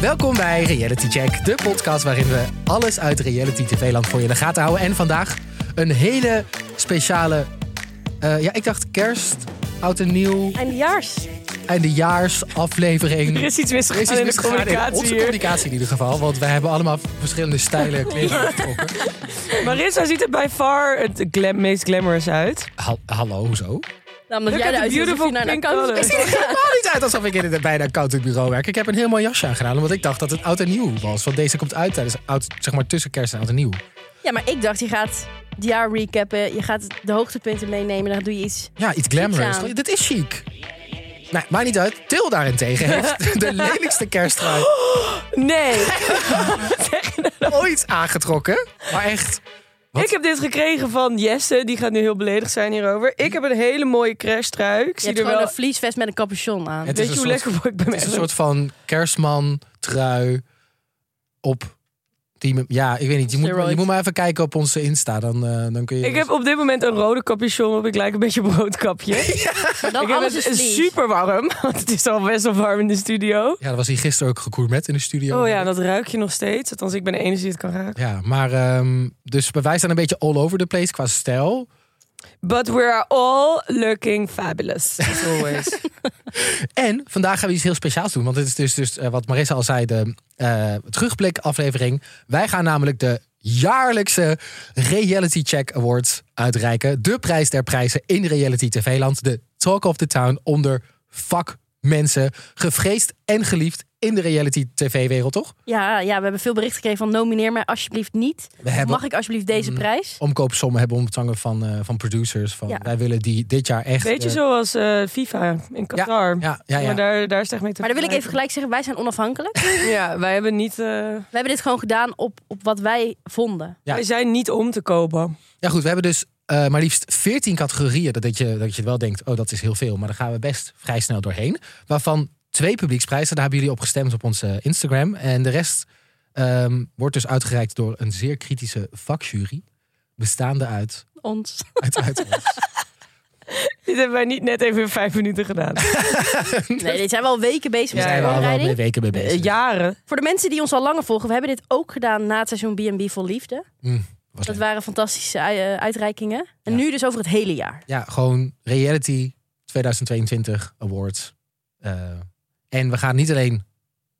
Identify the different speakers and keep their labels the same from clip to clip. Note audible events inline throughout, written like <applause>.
Speaker 1: Welkom bij Reality Check, de podcast waarin we alles uit reality tv-land voor je in de gaten houden. En vandaag een hele speciale, eh, ja, ik dacht kerst, oud en nieuw,
Speaker 2: Eindejaars.
Speaker 3: <laughs>
Speaker 1: eindejaarsaflevering.
Speaker 3: Er is iets
Speaker 1: Er is
Speaker 3: misgegaan
Speaker 1: iets
Speaker 3: in de
Speaker 1: misgegaan in
Speaker 3: communicatie
Speaker 1: Onze
Speaker 3: hier.
Speaker 1: communicatie in ieder geval, want wij hebben allemaal verschillende stijlen kleding getrokken.
Speaker 3: Marissa ziet er bij far het glam, meest glamorous uit.
Speaker 1: Ha- Hallo, hoezo?
Speaker 2: Nou, omdat
Speaker 3: Look
Speaker 2: jij
Speaker 3: at the
Speaker 2: eruit ziet
Speaker 3: beautiful
Speaker 2: alsof je naar een
Speaker 3: pink
Speaker 2: accountant-
Speaker 3: colors.
Speaker 1: Het ziet er helemaal niet uit alsof ik in het bijna accountantbureau werk. Ik heb een heel mooi jasje aangedaan, omdat ik dacht dat het oud en nieuw was. Want deze komt uit tijdens oud, zeg maar tussen kerst en oud en nieuw.
Speaker 2: Ja, maar ik dacht, je gaat het jaar recappen. Je gaat de hoogtepunten meenemen. Dan doe je iets.
Speaker 1: Ja, iets glamorous.
Speaker 2: Chic aan.
Speaker 1: Dit is chic. Nou, maakt niet uit. Til
Speaker 3: <laughs>
Speaker 1: daarentegen heeft de lelijkste kersttrui
Speaker 3: Nee,
Speaker 1: ooit aangetrokken. Maar echt, Wat?
Speaker 3: ik heb dit gekregen van Jesse. Die gaat nu heel beledigd zijn hierover. Ik heb een hele mooie crashtrui. Ik
Speaker 2: Je
Speaker 3: zie
Speaker 2: hebt
Speaker 3: er
Speaker 2: gewoon
Speaker 3: wel...
Speaker 2: een vliesvest met een capuchon aan.
Speaker 1: Het
Speaker 3: Weet
Speaker 1: is
Speaker 3: je
Speaker 1: een
Speaker 3: hoe
Speaker 1: soort-
Speaker 3: lekker ik ben?
Speaker 1: het is een soort van kerstman trui op... Die, ja, ik weet niet. Je moet,
Speaker 2: Steroid.
Speaker 1: je moet maar even kijken op onze Insta. Dan, eh, dan kun je...
Speaker 3: Ik heb op dit moment een rode capuchon op. Ik lijk een beetje op een roodkapje.
Speaker 2: Maar <laughs>
Speaker 3: <laughs>
Speaker 2: dan
Speaker 3: ik heb
Speaker 2: alles
Speaker 3: het
Speaker 2: is vlies.
Speaker 3: super warm, <laughs> want het is al best wel warm in de studio.
Speaker 1: Ja, dat was hier gisteren ook gecourmet in de studio.
Speaker 3: Oh ja, dat ruik je nog steeds. Althans, ik ben de enige die het kan raken.
Speaker 1: Ja, maar ehm, dus wij staan een beetje all over the place qua stijl.
Speaker 3: But we are all looking fabulous, as always.
Speaker 1: <laughs> En vandaag gaan we iets heel speciaals doen. Want dit is dus, dus eh, wat Marissa al zei, de eh, terugblik aflevering. Wij gaan namelijk de jaarlijkse Reality Check Awards uitreiken. De prijs der prijzen in Reality TV-land. De Talk of the Town onder vakmensen. Gevreesd en geliefd in de Reality TV-wereld, toch?
Speaker 2: Ja, ja, we hebben veel berichten gekregen van nomineer mij alsjeblieft niet.
Speaker 1: We hebben
Speaker 2: Mag ik alsjeblieft deze
Speaker 1: Mm.
Speaker 2: prijs?
Speaker 1: omkoopsommen hebben ontvangen van, eh, van producers. Van,
Speaker 2: Ja.
Speaker 1: Wij willen die dit jaar echt...
Speaker 3: Beetje
Speaker 1: eh,
Speaker 3: zoals eh, FIFA in Qatar.
Speaker 1: Ja, ja, ja.
Speaker 3: Maar daar, daar is het echt mee te
Speaker 2: Maar dan wil ik
Speaker 3: vergelijken.
Speaker 2: even gelijk zeggen, wij zijn onafhankelijk.
Speaker 3: Ja, wij, hebben niet, eh,
Speaker 2: We hebben dit gewoon gedaan op, op wat wij vonden.
Speaker 1: Ja.
Speaker 3: wij zijn niet om te kopen. <laughs>
Speaker 1: Ja, goed, we hebben dus eh, maar liefst 14 categorieën. Dat, dat, je, dat je wel denkt, oh, dat is heel veel. Maar daar gaan we best vrij snel doorheen. Waarvan twee publieksprijzen, daar hebben jullie op gestemd op onze Instagram. En de rest ehm, wordt dus uitgereikt door een zeer kritische vakjury. Bestaande uit...
Speaker 2: Ons.
Speaker 1: uit, uit ons.
Speaker 3: Dit hebben wij niet net even in vijf minuten gedaan.
Speaker 2: Nee, dit zijn wel weken bezig
Speaker 1: Daar
Speaker 2: met de
Speaker 3: Ja,
Speaker 1: zijn we al wel
Speaker 2: voorbereiding.
Speaker 1: mee weken mee bezig.
Speaker 3: Eh, jaren.
Speaker 2: Voor de mensen die ons al langer volgen, we hebben dit ook gedaan na het seizoen B&B Vol Liefde.
Speaker 1: Was
Speaker 2: Dat
Speaker 1: leuk.
Speaker 2: waren fantastische eh, uitreikingen. En
Speaker 1: Ja.
Speaker 2: nu dus over het hele jaar.
Speaker 1: Ja, gewoon Reality 2022 Awards. Eh, en we gaan niet alleen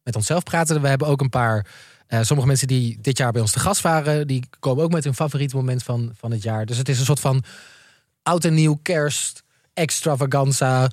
Speaker 1: met onszelf praten. We hebben ook een paar... eh, sommige mensen die dit jaar bij ons te gast waren... die komen ook met hun favoriet moment van, van het jaar. Dus het is een soort van oud en nieuw kerst... extravaganza,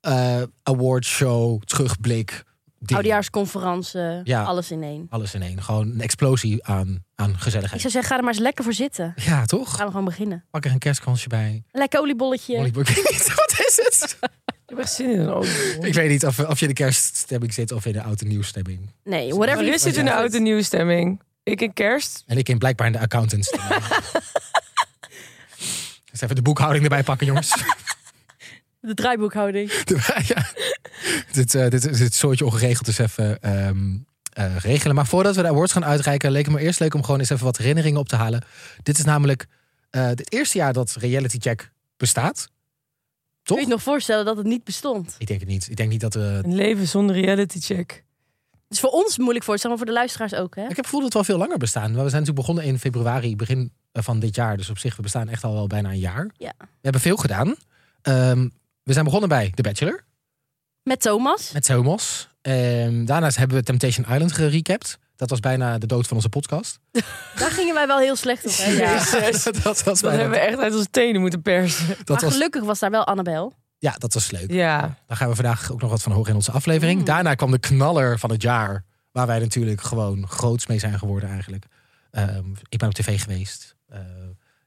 Speaker 1: eh awardshow, terugblik. ding.
Speaker 2: Oudejaarsconferentie,
Speaker 1: Ja.
Speaker 2: alles in één.
Speaker 1: Alles in één. Gewoon een explosie aan, aan
Speaker 2: Ik
Speaker 1: gezelligheid.
Speaker 2: zou zeggen, ga er maar eens lekker voor zitten.
Speaker 1: Ja, toch?
Speaker 2: Gaan we gewoon beginnen.
Speaker 1: Pak er een kerstkransje bij.
Speaker 2: Een lekker oliebolletje.
Speaker 1: Molly Brook- <laughs> Wat is het?
Speaker 3: Ik heb echt zin in een auto.
Speaker 1: Ik weet niet of, of je in de kerststemming zit of in de oude nieuwsstemming.
Speaker 2: nee, whatever.
Speaker 3: Maar
Speaker 2: you
Speaker 3: is zit in de
Speaker 2: prefer.
Speaker 3: oude nieuwe stemming. Ik in kerst.
Speaker 1: En ik in blijkbaar in de accountantstemming. Dus even de boekhouding erbij pakken, jongens.
Speaker 2: De draaiboekhouding.
Speaker 1: <laughs> ja. dit, eh, dit, dit soortje ongeregeld is even ehm, eh, regelen. Maar voordat we de awards gaan uitreiken, leek het me eerst leuk om gewoon eens even wat herinneringen op te halen. Dit is namelijk eh, het eerste jaar dat Reality Check bestaat.
Speaker 2: Kun
Speaker 1: Toch?
Speaker 2: je je nog voorstellen dat het niet bestond?
Speaker 1: Ik denk het niet. Ik denk niet dat we.
Speaker 3: Een leven zonder reality check.
Speaker 2: Het is voor ons moeilijk voor, maar voor de luisteraars ook, hè?
Speaker 1: Ik heb het gevoel dat we al veel langer bestaan. We zijn natuurlijk begonnen in februari, begin eh, van dit jaar. Dus op zich, we bestaan echt al wel bijna een jaar.
Speaker 2: Ja.
Speaker 1: We hebben veel gedaan. Ehm, we zijn begonnen bij The Bachelor,
Speaker 2: Met Thomas.
Speaker 1: met Somos. Ehm, daarnaast hebben we Temptation Island gerecapt. Dat was bijna de dood van onze podcast.
Speaker 2: Daar gingen wij wel heel slecht op, hè? Ja.
Speaker 3: Jezus.
Speaker 1: <laughs> dat,
Speaker 3: Dat
Speaker 1: was
Speaker 3: hebben
Speaker 1: bijna,
Speaker 3: we echt uit onze tenen moeten
Speaker 1: <laughs>
Speaker 3: persen.
Speaker 1: dat
Speaker 2: maar
Speaker 1: was,
Speaker 2: gelukkig was daar wel Annabel.
Speaker 1: ja, dat was leuk.
Speaker 3: Ja.
Speaker 1: Daar gaan we vandaag ook nog wat van horen in onze aflevering.
Speaker 2: Mm.
Speaker 1: Daarna kwam de knaller van het jaar. Waar wij natuurlijk gewoon groots mee zijn geworden eigenlijk. Ehm, ik ben op tv geweest. Eh,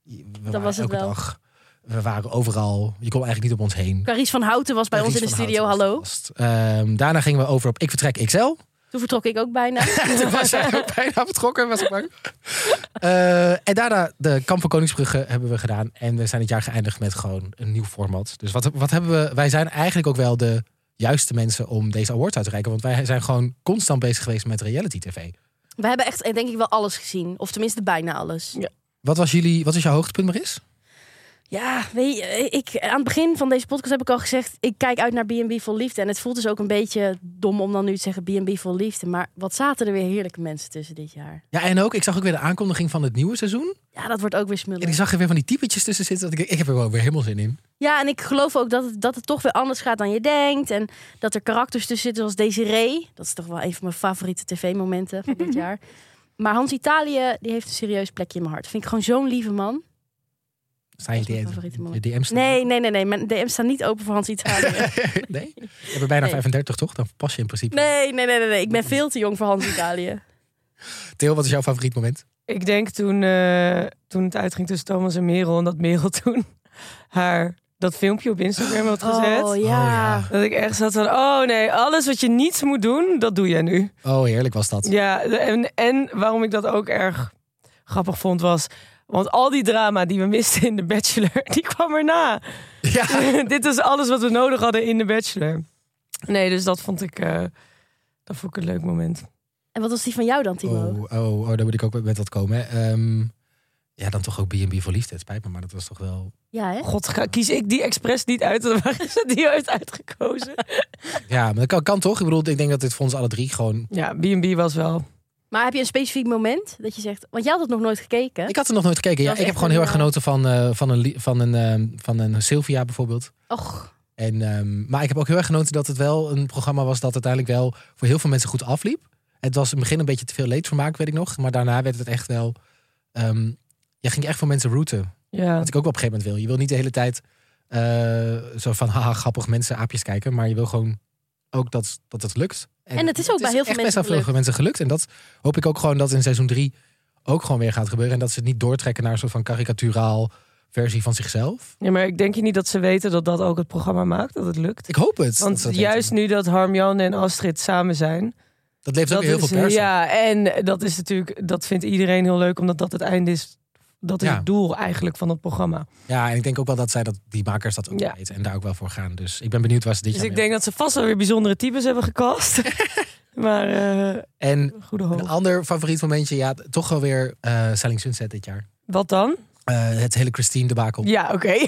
Speaker 1: we waren
Speaker 2: was het
Speaker 1: elke
Speaker 2: wel.
Speaker 1: dag. We waren overal. Je kon eigenlijk niet op ons heen.
Speaker 2: Carice van Houten was bij
Speaker 1: Ries
Speaker 2: ons in de
Speaker 1: van
Speaker 2: studio,
Speaker 1: Houten was
Speaker 2: hallo.
Speaker 1: de gast. Ehm, daarna gingen we over op Ik Vertrek XL.
Speaker 2: Toen vertrok ik ook bijna.
Speaker 1: <laughs> Toen was jij ook bijna betrokken, was ik bang. Eh, en daarna de Kamp van Koningsbrugge hebben we gedaan. En we zijn dit jaar geëindigd met gewoon een nieuw format. Dus wat, wat hebben we... Wij zijn eigenlijk ook wel de juiste mensen om deze award uit te reiken. Want wij zijn gewoon constant bezig geweest met reality tv.
Speaker 2: We hebben echt, eh, denk ik, wel alles gezien. Of tenminste, bijna alles.
Speaker 3: Ja.
Speaker 1: Wat was, jullie, wat was jouw hoogtepunt, Maris?
Speaker 2: Ja, weet je, ik, aan het begin van deze podcast heb ik al gezegd... ik kijk uit naar B&B Vol Liefde. En het voelt dus ook een beetje dom om dan nu te zeggen B&B Vol Liefde. Maar wat zaten er weer heerlijke mensen tussen dit jaar.
Speaker 1: Ja, en ook, ik zag ook weer de aankondiging van het nieuwe seizoen.
Speaker 2: Ja, dat wordt ook weer
Speaker 1: En
Speaker 2: smullen.
Speaker 1: ik zag er weer van die typetjes tussen zitten. Dat ik, ik heb er wel weer helemaal zin in.
Speaker 2: Ja, en ik geloof ook dat het, dat het toch weer anders gaat dan je denkt. En dat er karakters tussen zitten zoals Desiree. Dat is toch wel een van mijn favoriete tv-momenten van dit jaar. Maar Hans Italië, die heeft een serieus plekje in mijn hart. Vind ik gewoon zo'n lieve man.
Speaker 1: Sta je
Speaker 2: Dat is mijn favoriete
Speaker 1: die,
Speaker 2: moment.
Speaker 1: die DM's?
Speaker 2: Nee, nee, nee, nee. Mijn DM staat niet open voor Hans Italië.
Speaker 1: <laughs> nee? Je bent bijna
Speaker 2: Nee.
Speaker 1: 35, toch? Dan pas je in principe.
Speaker 2: Nee, nee, nee, nee, nee. Ik ben veel te jong voor Hans Italië.
Speaker 1: Theo, wat is jouw favoriet moment?
Speaker 3: Ik denk toen, eh, toen het uitging tussen Thomas en Merel... en dat Merel <laughs> toen haar dat filmpje op Instagram had gezet.
Speaker 2: Oh ja.
Speaker 1: Oh,
Speaker 3: Dat ik echt zat van, oh nee, alles wat je niet moet doen, dat doe jij nu.
Speaker 1: ja. Oh, heerlijk was dat.
Speaker 3: Ja, de- en, en waarom ik dat ook erg grappig vond was... Want al die drama die we misten in The Bachelor, <laughs> die kwam erna.
Speaker 1: Ja.
Speaker 3: Dit is alles wat we nodig hadden in The Bachelor. Nee, dus dat vond ik, eh, dat vond ik een leuk moment.
Speaker 2: En wat was die van jou dan, Timo?
Speaker 1: Oh, oh, oh, daar moet ik ook met wat komen. hè. Ehm, ja, dan toch ook B&B voor liefde. Het spijt me, maar dat was toch wel...
Speaker 2: Ja, hè?
Speaker 3: God, ga- kies ik die expres niet uit? <laughs> Waar is het die heeft
Speaker 1: <laughs>
Speaker 3: uitgekozen?
Speaker 1: Ja, maar dat kan, kan toch? Ik bedoel, ik denk dat dit voor ons alle drie gewoon...
Speaker 3: Ja, B&B was wel.
Speaker 2: Maar heb je een specifiek moment dat je zegt... Want jij had het nog nooit gekeken.
Speaker 1: Ik had er nog nooit gekeken. Ja,
Speaker 2: Dat
Speaker 1: ik
Speaker 2: is
Speaker 1: heb
Speaker 2: echt
Speaker 1: gewoon heel erg
Speaker 2: een,
Speaker 1: genoten van, eh, van, een, li- van, een, ehm, van een Sylvia bijvoorbeeld.
Speaker 2: Och,
Speaker 1: En, ehm, maar ik heb ook heel erg genoten dat het wel een programma was... dat uiteindelijk wel voor heel veel mensen goed afliep. Het was in het begin een beetje te veel leedvermaak, weet ik nog. Maar daarna werd het echt wel... ehm je ging echt voor mensen routen.
Speaker 3: Ja.
Speaker 1: Wat ik ook wel op een gegeven moment wil. Je wil niet de hele tijd eh, zo van <laughs> haha, grappig mensen, aapjes kijken. Maar je wil gewoon ook dat, dat het lukt.
Speaker 2: En het is ook bij heel veel
Speaker 1: echt
Speaker 2: mensen
Speaker 1: best wel veel mensen gelukt. En dat hoop ik ook gewoon dat in seizoen 3 ook gewoon weer gaat gebeuren. En dat ze het niet doortrekken naar een soort van karikaturaal versie van zichzelf.
Speaker 3: ja, maar ik denk je niet dat ze weten dat dat ook het programma maakt, dat het lukt.
Speaker 1: Ik hoop het. dat
Speaker 3: Want
Speaker 1: ze dat
Speaker 3: juist
Speaker 1: weten.
Speaker 3: nu dat Harmjan en Astrid samen zijn,
Speaker 1: Dat leeft ook
Speaker 3: dat
Speaker 1: weer heel
Speaker 3: is,
Speaker 1: veel pers. op.
Speaker 3: ja, en dat is natuurlijk, dat vindt iedereen heel leuk, omdat dat het einde is. Dat is
Speaker 1: Ja.
Speaker 3: het doel eigenlijk van het programma.
Speaker 1: Ja, en ik denk ook wel dat zij dat, die makers dat ook
Speaker 3: Ja.
Speaker 1: weten. En daar ook wel voor gaan. Dus ik ben benieuwd waar ze dit
Speaker 3: Dus
Speaker 1: jaar
Speaker 3: ik
Speaker 1: mee-
Speaker 3: denk dat ze vast wel weer bijzondere types hebben
Speaker 1: <laughs>
Speaker 3: gekast. maar eh,
Speaker 1: En
Speaker 3: goede
Speaker 1: een
Speaker 3: hoop.
Speaker 1: ander favoriet momentje, ja, toch wel weer eh Selling Sunset dit jaar.
Speaker 3: Wat dan?
Speaker 1: Eh, het hele Christine debakel.
Speaker 3: Ja, oké. <laughs>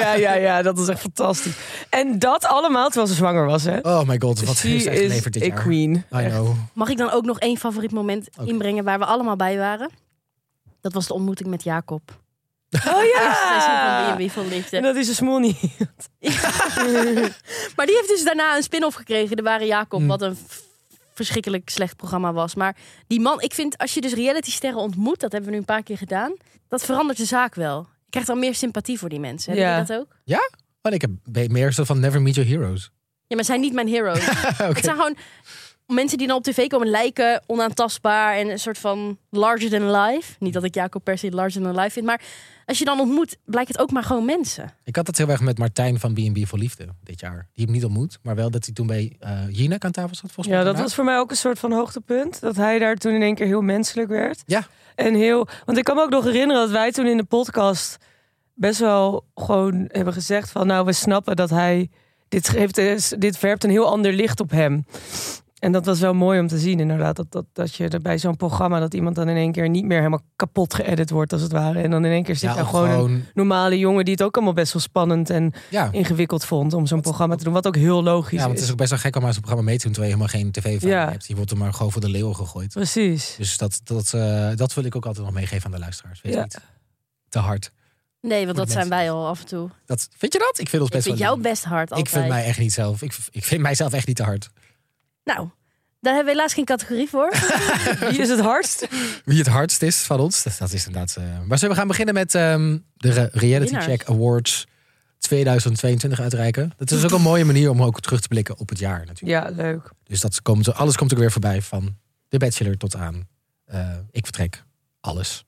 Speaker 3: ja, ja, ja, dat is echt fantastisch. En dat allemaal terwijl ze zwanger was, hè?
Speaker 1: Oh my god, wat
Speaker 3: She
Speaker 1: heeft zij
Speaker 3: is
Speaker 1: geleverd dit
Speaker 3: a
Speaker 1: jaar?
Speaker 3: queen.
Speaker 1: I know.
Speaker 2: mag ik dan ook nog één favoriet moment
Speaker 1: Oké.
Speaker 2: inbrengen waar we allemaal bij waren? Dat was de ontmoeting met Jacob.
Speaker 3: Oh
Speaker 2: Eerste seizoen
Speaker 3: ja!
Speaker 2: van B&B Vol Liefde.
Speaker 3: En <laughs> dat is een smoel niet.
Speaker 2: Maar die heeft dus daarna een spin-off gekregen. De Ware Jacob,
Speaker 1: Hmm.
Speaker 2: wat een v- verschrikkelijk slecht programma was. Maar die man, ik vind als je dus realitysterren ontmoet... dat hebben we nu een paar keer gedaan... dat verandert de zaak wel. Je krijgt dan meer sympathie voor die mensen. Heb
Speaker 3: Ja.
Speaker 2: je dat ook?
Speaker 1: Maar ik heb be- meer zo van Never Meet Your Heroes.
Speaker 2: Ja, maar zijn niet mijn
Speaker 1: <laughs>
Speaker 2: heroes.
Speaker 1: Oké.
Speaker 2: Het zijn gewoon mensen die dan op tv komen lijken onaantastbaar... en een soort van larger than life. Niet dat ik Jacob per se larger than life vind... maar als je dan ontmoet, blijkt het ook maar gewoon mensen.
Speaker 1: Ik had dat heel erg met Martijn van B&B voor Liefde dit jaar. Die heb ik niet ontmoet, maar wel dat hij toen bij eh Jinek aan tafel zat volgens mij.
Speaker 3: Ja, dat
Speaker 1: daarna.
Speaker 3: was voor mij ook een soort van hoogtepunt. Dat hij daar toen in één keer heel menselijk werd.
Speaker 1: Ja.
Speaker 3: En heel. Want ik kan me ook nog herinneren dat wij toen in de podcast best wel gewoon hebben gezegd van nou, we snappen dat hij. Dit, geeft, dus, dit verpt een heel ander licht op hem. En dat was wel mooi om te zien, inderdaad. Dat, dat, dat je er bij zo'n programma dat iemand dan in één keer niet meer helemaal kapot geëdit wordt, als het ware. En dan in één keer zit
Speaker 1: Ja,
Speaker 3: daar
Speaker 1: of
Speaker 3: gewoon een
Speaker 1: gewoon...
Speaker 3: normale jongen die het ook allemaal best wel spannend en
Speaker 1: Ja.
Speaker 3: ingewikkeld vond om zo'n programma te doen. Wat ook heel logisch
Speaker 1: ja, want
Speaker 3: is.
Speaker 1: het is ook best wel gek om aan zo'n programma mee te doen... terwijl je helemaal geen tv van
Speaker 3: Ja.
Speaker 1: hebt. Je wordt er maar gewoon voor de leeuwen gegooid.
Speaker 3: Precies.
Speaker 1: Dus dat, dat, eh, dat wil ik ook altijd nog meegeven aan de luisteraars. Wees
Speaker 3: Ja.
Speaker 1: niet te hard.
Speaker 2: Nee, want
Speaker 1: Voor
Speaker 2: dat
Speaker 1: de
Speaker 2: zijn
Speaker 1: mensen.
Speaker 2: wij al af en toe.
Speaker 1: Dat, vind je dat? Ik vind ons
Speaker 2: Ik
Speaker 1: best
Speaker 2: vind
Speaker 1: wel...
Speaker 2: jou best hard altijd.
Speaker 1: ik vind mij echt niet zelf. Ik, ik vind mijzelf echt niet te hard.
Speaker 2: Nou, daar hebben we helaas geen categorie voor.
Speaker 3: Wie is het hardst?
Speaker 1: Wie het hardst is van ons, dat, dat is inderdaad... eh, maar zullen we gaan beginnen met ehm, de Re- Reality
Speaker 2: Winnaars.
Speaker 1: Check Awards 2022 uitreiken? Dat is ook een mooie manier om ook terug te blikken op het jaar natuurlijk.
Speaker 3: Ja, leuk.
Speaker 1: Dus dat komt, alles komt ook weer voorbij van de Bachelor tot aan eh, Ik Vertrek. Alles.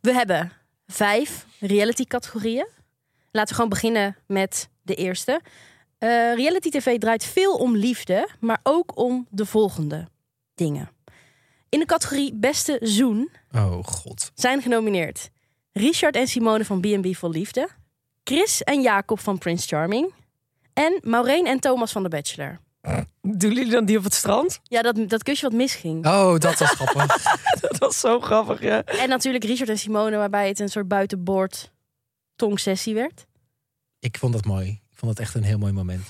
Speaker 2: We hebben vijf reality-categorieën. Laten we gewoon beginnen met de eerste. Eh, reality TV draait veel om liefde, maar ook om de volgende dingen. In de categorie Beste Zoen
Speaker 1: Oh god.
Speaker 2: zijn genomineerd Richard en Simone van B&B Vol Liefde, Chris en Jacob van Prince Charming En Maureen en Thomas van de Bachelor.
Speaker 3: Doen jullie dan die op het strand? <laughs>
Speaker 2: Ja, dat, dat kusje wat misging.
Speaker 1: Oh, dat was <laughs> grappig.
Speaker 3: Dat was zo grappig, ja.
Speaker 2: En natuurlijk Richard en Simone, waarbij het een soort buitenboord tongsessie werd. <laughs>
Speaker 1: ik vond dat mooi. Ik vond dat echt een heel mooi moment.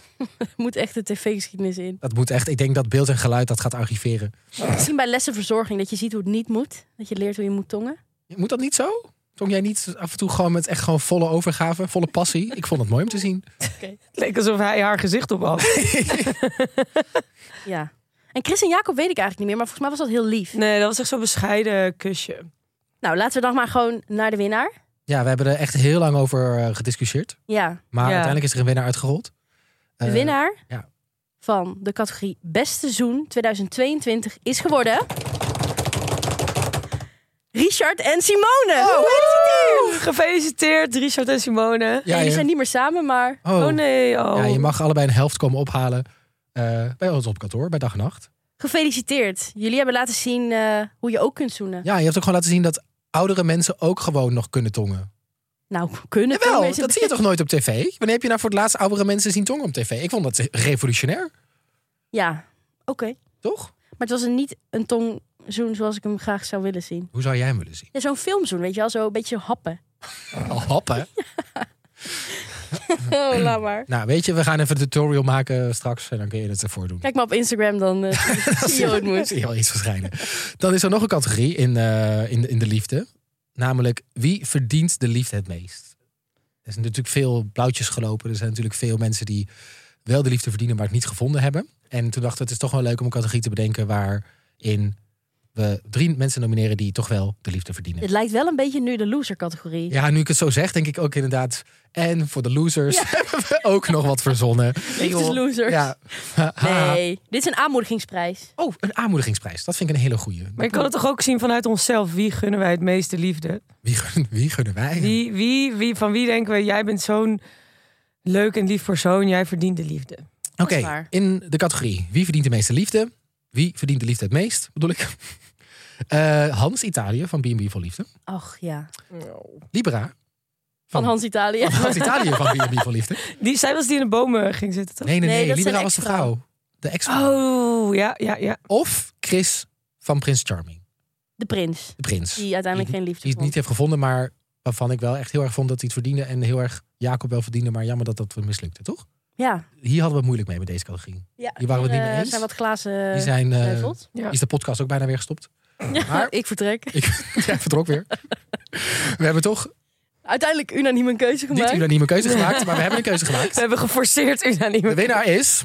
Speaker 2: Moet echt de tv-geschiedenis in.
Speaker 1: Dat moet echt, ik denk dat beeld en geluid dat gaat archiveren.
Speaker 2: Misschien bij lessenverzorging, dat je ziet hoe het niet moet. Dat je leert hoe je moet tongen.
Speaker 1: Moet dat niet zo? Tong jij niet af en toe gewoon met echt gewoon volle overgave, volle passie? Ik vond het mooi om te zien.
Speaker 3: Het leek alsof hij haar gezicht op had.
Speaker 2: Ja. En Chris en Jacob weet ik eigenlijk niet meer, maar volgens mij was dat heel lief.
Speaker 3: <laughs> Nee, dat was echt zo'n bescheiden kusje.
Speaker 2: Nou, laten we dan maar gewoon naar de winnaar.
Speaker 1: Ja, we hebben er echt heel lang over eh, gediscussieerd.
Speaker 2: Ja,
Speaker 1: Maar
Speaker 3: Ja.
Speaker 1: uiteindelijk is er een winnaar uitgerold.
Speaker 2: de
Speaker 1: Eh,
Speaker 2: winnaar
Speaker 1: ja.
Speaker 2: van de categorie Beste Seizoen 2022 is geworden... Richard en Simone! Gefeliciteerd!
Speaker 3: Gefeliciteerd, Richard en Simone.
Speaker 1: Ja,
Speaker 2: Jullie
Speaker 1: je-
Speaker 2: zijn niet meer samen, maar
Speaker 1: oh,
Speaker 3: Oh nee, oh.
Speaker 1: Ja, je mag allebei een helft komen ophalen eh, bij ons op kantoor, bij dag en nacht.
Speaker 2: gefeliciteerd. Jullie hebben laten zien eh, hoe je ook kunt zoenen.
Speaker 1: Ja, je hebt ook gewoon laten zien dat oudere mensen ook gewoon nog kunnen tongen.
Speaker 2: Nou, kunnen
Speaker 1: Jawel,
Speaker 2: tongen is een-
Speaker 1: dat zie je toch nooit op tv? Wanneer heb je nou voor het laatst oudere mensen zien tongen op tv? Ik vond dat revolutionair,
Speaker 2: Ja, oké.
Speaker 1: toch?
Speaker 2: Maar het was een, niet een tongzoen zoals ik hem graag zou willen zien.
Speaker 1: Hoe zou jij hem willen zien?
Speaker 2: Ja, zo'n filmzoen, weet je wel, zo een beetje
Speaker 1: <laughs>
Speaker 2: happen.
Speaker 1: Al happen.
Speaker 2: Oh, laat maar.
Speaker 1: Nou, weet je, we gaan even een tutorial maken straks en dan kun je het ervoor doen.
Speaker 2: Kijk maar op
Speaker 1: <laughs>
Speaker 2: Instagram, dan eh, zie je hoe het moet.
Speaker 1: Zie je wel iets verschijnen. Dan is er nog een categorie in, eh, in, de- in de liefde. Namelijk, wie verdient de liefde het meest? Er zijn natuurlijk veel blauwtjes gelopen. Er zijn natuurlijk veel mensen die wel de liefde verdienen, maar het niet gevonden hebben. En toen dachten we, het is toch wel leuk om een categorie te bedenken waarin we drie mensen nomineren die toch wel de liefde verdienen.
Speaker 2: Het lijkt wel een beetje nu de loser-categorie.
Speaker 1: Ja, nu ik het zo zeg, denk ik ook inderdaad. En voor de losers <laughs> hebben we ook nog wat verzonnen.
Speaker 2: Liefdeslosers.
Speaker 1: Ja.
Speaker 2: Nee, dit is een aanmoedigingsprijs.
Speaker 1: Oh, een aanmoedigingsprijs. Dat vind ik een hele goeie.
Speaker 3: Maar je kan het toch ook zien vanuit onszelf. Wie gunnen wij het meeste liefde?
Speaker 1: Wie, gun- wie gunnen wij?
Speaker 3: Wie, wie, wie, van wie denken we, jij bent zo'n leuk en lief persoon. Jij verdient de liefde.
Speaker 1: Oké,
Speaker 2: is waar.
Speaker 1: in de categorie wie verdient de meeste liefde? Wie verdient de liefde het meest? Bedoel ik. <laughs> Eh, Hans Italië van B&B voor Liefde.
Speaker 2: Ach ja,
Speaker 3: Oh.
Speaker 1: Libera van,
Speaker 2: van Hans Italië.
Speaker 1: Oh. van Hans Italië van B&B voor
Speaker 2: <laughs>
Speaker 1: Liefde.
Speaker 3: Die, zij was die in de bomen ging zitten, toch?
Speaker 1: Nee, nee,
Speaker 2: Nee,
Speaker 1: nee.
Speaker 2: dat is
Speaker 1: Libera
Speaker 2: een
Speaker 1: was de
Speaker 2: ex-vrouw.
Speaker 1: vrouw. De ex
Speaker 3: Oh, ja, ja, ja.
Speaker 1: Of Chris van Prins Charming.
Speaker 2: <laughs> De prins,
Speaker 1: De prins.
Speaker 2: die uiteindelijk geen liefde
Speaker 1: die het
Speaker 2: vond.
Speaker 1: niet heeft gevonden, maar waarvan ik wel echt heel erg vond dat hij het verdiende. En heel erg Jacob wel verdiende, maar jammer dat dat mislukte, toch?
Speaker 2: Ja.
Speaker 1: Hier hadden we het moeilijk mee met deze categorie.
Speaker 2: ja,
Speaker 1: Hier waren we het niet
Speaker 2: eh,
Speaker 1: mee eens.
Speaker 2: zijn wat glazen
Speaker 1: Die zijn, eh,
Speaker 2: geleuveld.
Speaker 1: die is de podcast ook bijna weer
Speaker 2: <laughs>
Speaker 1: gestopt.
Speaker 2: Ja,
Speaker 1: maar-
Speaker 2: ik vertrek.
Speaker 1: Jij vertrok
Speaker 2: <laughs>
Speaker 1: weer. We hebben toch
Speaker 2: Uiteindelijk unaniem een keuze
Speaker 1: niet
Speaker 2: gemaakt.
Speaker 1: unanieme keuze gemaakt, maar we hebben een keuze
Speaker 3: Ze
Speaker 1: gemaakt.
Speaker 3: hebben geforceerd unaniem.
Speaker 1: De winnaar is...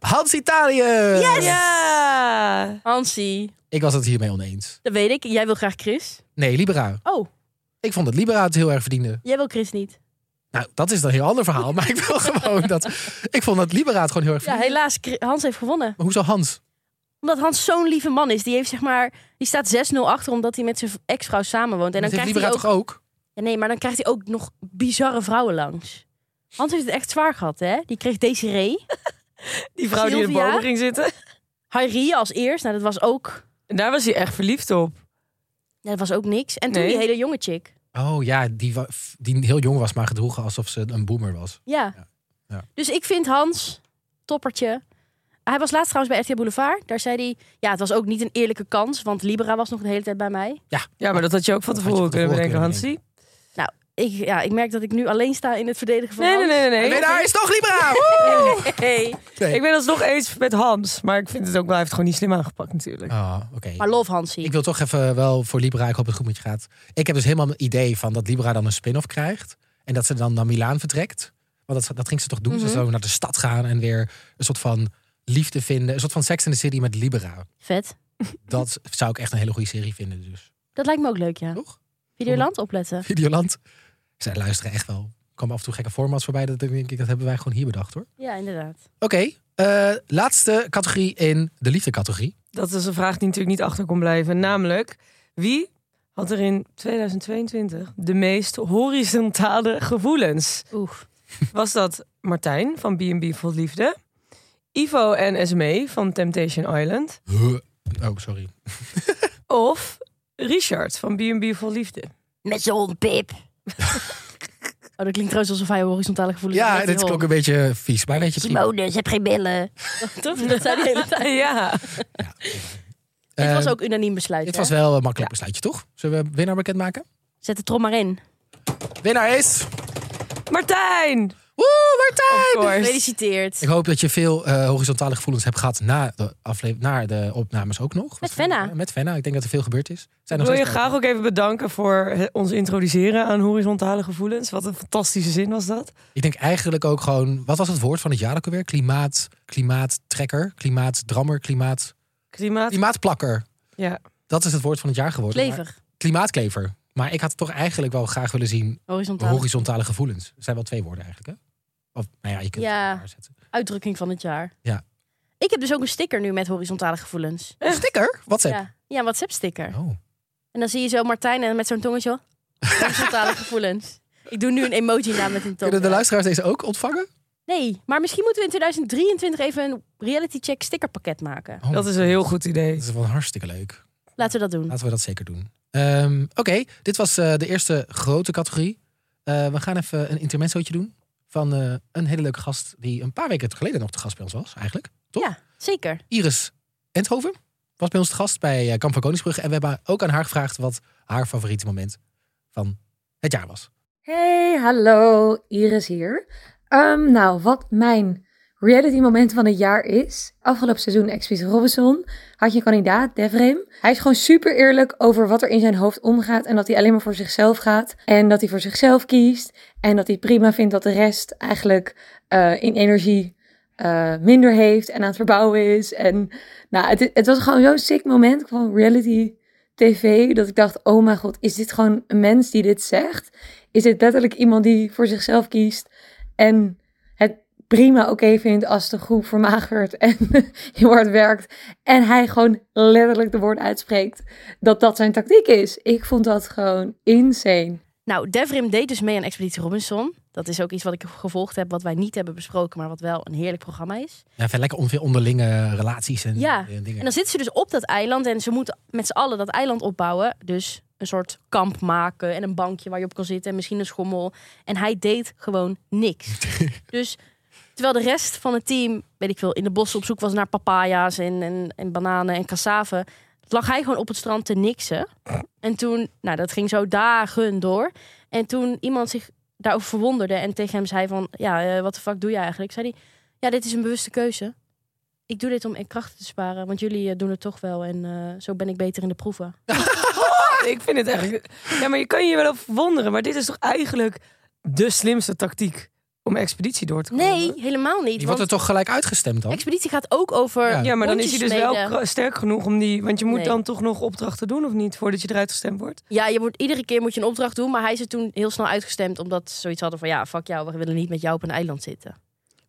Speaker 1: Hans Italië!
Speaker 3: Ja!
Speaker 2: Hansie,
Speaker 1: Ik was het hiermee oneens.
Speaker 2: dat weet ik. Jij wil graag Chris.
Speaker 1: Nee, Libera.
Speaker 2: Oh,
Speaker 1: Ik vond dat Libera het heel erg verdiende.
Speaker 2: jij wil Chris niet.
Speaker 1: Nou, dat is dan een heel ander verhaal. Maar ik wil <laughs> gewoon dat... Ik vond dat Libera het gewoon heel erg
Speaker 2: Ja,
Speaker 1: verdiende.
Speaker 2: helaas, Chri- Hans heeft gewonnen.
Speaker 1: Maar hoezo Hans?
Speaker 2: Omdat Hans zo'n lieve man is. Die, heeft, zeg maar, die staat 6-0 achter omdat hij met zijn v- ex-vrouw samenwoont. En dan
Speaker 1: dat heeft
Speaker 2: krijgt
Speaker 1: Libera
Speaker 2: hij ook...
Speaker 1: toch ook?
Speaker 2: Ja, nee, maar dan krijgt hij ook nog bizarre vrouwen langs. Hans heeft het echt zwaar gehad, hè? Die kreeg Desiree.
Speaker 3: Die vrouw die in de
Speaker 2: Sylvia?
Speaker 3: bomen ging zitten.
Speaker 2: Harry als eerst. Nou, dat was ook,
Speaker 3: En daar was hij echt verliefd op.
Speaker 2: ja, dat was ook niks. En toen
Speaker 3: Nee.
Speaker 2: die hele jonge chick.
Speaker 1: Oh ja, die, wa- f- die heel jong was, maar gedroegen alsof ze een boomer was.
Speaker 2: Ja.
Speaker 1: Ja, ja.
Speaker 2: Dus ik vind Hans, toppertje. Hij was laatst trouwens bij RTL Boulevard. Daar zei hij, ja, het was ook niet een eerlijke kans. Want Libera was nog de hele tijd bij mij.
Speaker 3: Ja, maar dat had je ook van
Speaker 1: Dat had je
Speaker 3: tevoren
Speaker 1: van
Speaker 3: kunnen
Speaker 1: tevoren
Speaker 3: bedenken,
Speaker 1: kunnen
Speaker 3: Hansie.
Speaker 2: Ik, ja, ik merk dat ik nu alleen sta in het verdedigen van
Speaker 3: Nee, nee, nee, nee.
Speaker 1: En
Speaker 3: nee.
Speaker 1: winnaar is toch Libra!
Speaker 2: Hans. <laughs> Hey.
Speaker 1: nee.
Speaker 3: Ik ben het nog eens met Hans. Maar ik vind het ook wel, hij heeft het gewoon niet slim aangepakt natuurlijk.
Speaker 1: Oh, oké.
Speaker 2: Maar love Hansie.
Speaker 1: Ik wil toch even wel voor Libra, ik hoop dat het goed met je gaat. Ik heb dus helemaal een idee van dat Libra dan een spin-off krijgt. En dat ze dan naar Milaan vertrekt. Want dat, dat ging ze toch doen? Ze
Speaker 2: Mhm.
Speaker 1: zou naar de stad gaan en weer een soort van liefde vinden. Een soort van Sex in the City met Libra.
Speaker 2: Vet.
Speaker 1: Dat zou ik echt een hele goede serie vinden dus.
Speaker 2: Dat lijkt me ook leuk, ja.
Speaker 1: Toch?
Speaker 2: Videoland opletten.
Speaker 1: Videoland. Zij luisteren echt wel. Er komen af en toe gekke formats voorbij. Dat, denk ik, dat hebben wij gewoon hier bedacht hoor.
Speaker 2: Ja, inderdaad.
Speaker 1: Oké, eh, laatste categorie in de liefdecategorie.
Speaker 3: Dat is een vraag die natuurlijk niet achter kon blijven. Namelijk, wie had er in 2022 de meest horizontale gevoelens?
Speaker 2: Oeh.
Speaker 3: Was dat Martijn van B&B Vol Liefde? Ivo en SME van Temptation Island?
Speaker 1: Oh, sorry.
Speaker 3: Of Richard van B&B Vol Liefde?
Speaker 2: Met zo'n pip. Oh, dat klinkt trouwens alsof hij horizontale gevoelens
Speaker 1: Ja,
Speaker 2: heeft.
Speaker 1: dit
Speaker 2: Joh.
Speaker 1: klonk een beetje vies, maar weet je prima.
Speaker 2: Simone, ze heeft geen billen. <laughs> Toch? Dat zei hij de hele tijd.
Speaker 3: ja.
Speaker 2: <laughs> dit
Speaker 1: Eh,
Speaker 2: was ook unaniem besluit.
Speaker 1: dit
Speaker 2: hè?
Speaker 1: was wel een makkelijk besluitje, toch? Zullen we winnaar bekendmaken?
Speaker 2: Zet de trom maar in.
Speaker 1: Winnaar is...
Speaker 3: Martijn!
Speaker 1: Woe, Martijn!
Speaker 2: Oh,
Speaker 3: Of course.
Speaker 2: Gefeliciteerd.
Speaker 1: Ik hoop dat je veel eh, horizontale gevoelens hebt gehad na de, afle- na de opnames ook nog. Wat-
Speaker 2: Venna.
Speaker 1: Met Venna. Ik denk dat er veel gebeurd is. Zijn nog
Speaker 3: Wil je
Speaker 1: steeds-
Speaker 3: graag ook even bedanken voor het- ons introduceren aan horizontale gevoelens. Wat een fantastische zin was dat.
Speaker 1: Ik denk eigenlijk ook gewoon... Wat was het woord van het jaar ook alweer? Klimaat, klimaattrekker, klimaatdrammer, klimaat...
Speaker 3: Klimaat.
Speaker 1: Klimaatplakker.
Speaker 3: Ja.
Speaker 1: Dat is het woord van het jaar geworden. maar-
Speaker 2: Klever.
Speaker 1: Klimaatklever. Maar ik had toch eigenlijk wel graag willen zien
Speaker 2: Horizontale
Speaker 1: horizontale gevoelens. Er zijn wel twee woorden eigenlijk, hè? Of, nou ja, je kunt
Speaker 2: Ja.
Speaker 1: het elkaar zetten.
Speaker 2: uitdrukking van het jaar.
Speaker 1: Ja.
Speaker 2: Ik heb dus ook een sticker nu met horizontale gevoelens.
Speaker 1: Een sticker? WhatsApp.
Speaker 2: Ja, ja een WhatsApp-sticker.
Speaker 1: Oh.
Speaker 2: En dan zie je zo Martijn en met zo'n tongetje.
Speaker 1: <laughs>
Speaker 2: Horizontale gevoelens. Ik doe nu een emoji na met een tong.
Speaker 1: Kunnen de luisteraars deze ook ontvangen?
Speaker 2: Nee, maar misschien moeten we in 2023 even een reality check stickerpakket maken.
Speaker 1: Oh,
Speaker 3: Dat is een heel goed idee. <laughs>
Speaker 1: Dat is wel hartstikke leuk.
Speaker 2: Laten we dat doen.
Speaker 1: Laten we dat zeker doen. Ehm, Oké, dit was eh, de eerste grote categorie. Eh, we gaan even een intermezzootje doen van eh, een hele leuke gast die een paar weken geleden nog te gast bij ons was eigenlijk. Toch?
Speaker 2: Ja, zeker.
Speaker 1: Iris Endhoven was bij ons te gast bij eh, Kamp van Koningsbrugge. En we hebben ook aan haar gevraagd wat haar favoriete moment van het jaar was.
Speaker 4: Hey, hallo, Iris hier. Ehm, nou, wat mijn reality moment van het jaar is. Afgelopen seizoen Expeditie Robinson had je een kandidaat, Devrim. Hij is gewoon super eerlijk over wat er in zijn hoofd omgaat en dat hij alleen maar voor zichzelf gaat. En dat hij voor zichzelf kiest en dat hij prima vindt dat de rest eigenlijk eh, in energie eh, minder heeft en aan het verbouwen is. En nou, het, het was gewoon zo'n sick moment van reality tv dat ik dacht, oh mijn god, is dit gewoon een mens die dit zegt? is dit letterlijk iemand die voor zichzelf kiest en het prima oké vindt als de groep vermagert en <laughs> heel hard werkt en hij gewoon letterlijk de woord uitspreekt dat dat zijn tactiek is. Ik vond dat gewoon insane.
Speaker 2: Nou, Devrim deed dus mee aan Expeditie Robinson. Dat is ook iets wat ik gevolgd heb, wat wij niet hebben besproken, maar wat wel een heerlijk programma is.
Speaker 1: Ja, verder lekker onve- onderlinge relaties en,
Speaker 2: Ja,
Speaker 1: en dingen.
Speaker 2: En dan zitten ze dus op dat eiland en ze moeten met z'n allen dat eiland opbouwen. Dus een soort kamp maken en een bankje waar je op kan zitten en misschien een schommel. En hij deed gewoon niks. dus terwijl de rest van het team, weet ik veel, in de bossen op zoek was naar papaya's en, en, en bananen en cassaven, lag hij gewoon op het strand te niksen. En toen, nou dat ging zo dagen door. En toen iemand zich daarover verwonderde en tegen hem zei van, ja, eh, wat de fuck doe je eigenlijk? Zei hij, ja, dit is een bewuste keuze ik doe dit om in krachten te sparen, want jullie eh, doen het toch wel en eh, zo ben ik beter in de proeven.
Speaker 3: Ik vind het eigenlijk. Ja, maar je kan je wel over verwonderen. Maar dit is toch eigenlijk de slimste tactiek om expeditie door te komen?
Speaker 2: Nee, helemaal niet.
Speaker 1: Die Oh. wordt er
Speaker 2: Want
Speaker 1: toch gelijk uitgestemd dan?
Speaker 2: expeditie gaat ook over.
Speaker 1: Ja.
Speaker 3: Ja, maar dan is hij dus wel
Speaker 2: Hondjes
Speaker 3: kra- sterk genoeg om die. Want je moet
Speaker 2: Nee.
Speaker 3: dan toch nog opdrachten doen of niet voordat je eruit gestemd wordt.
Speaker 2: Ja, je moet, iedere keer moet je een opdracht doen, maar hij is er toen heel snel uitgestemd omdat ze zoiets hadden van ja, fuck jou, we willen niet met jou op een eiland zitten.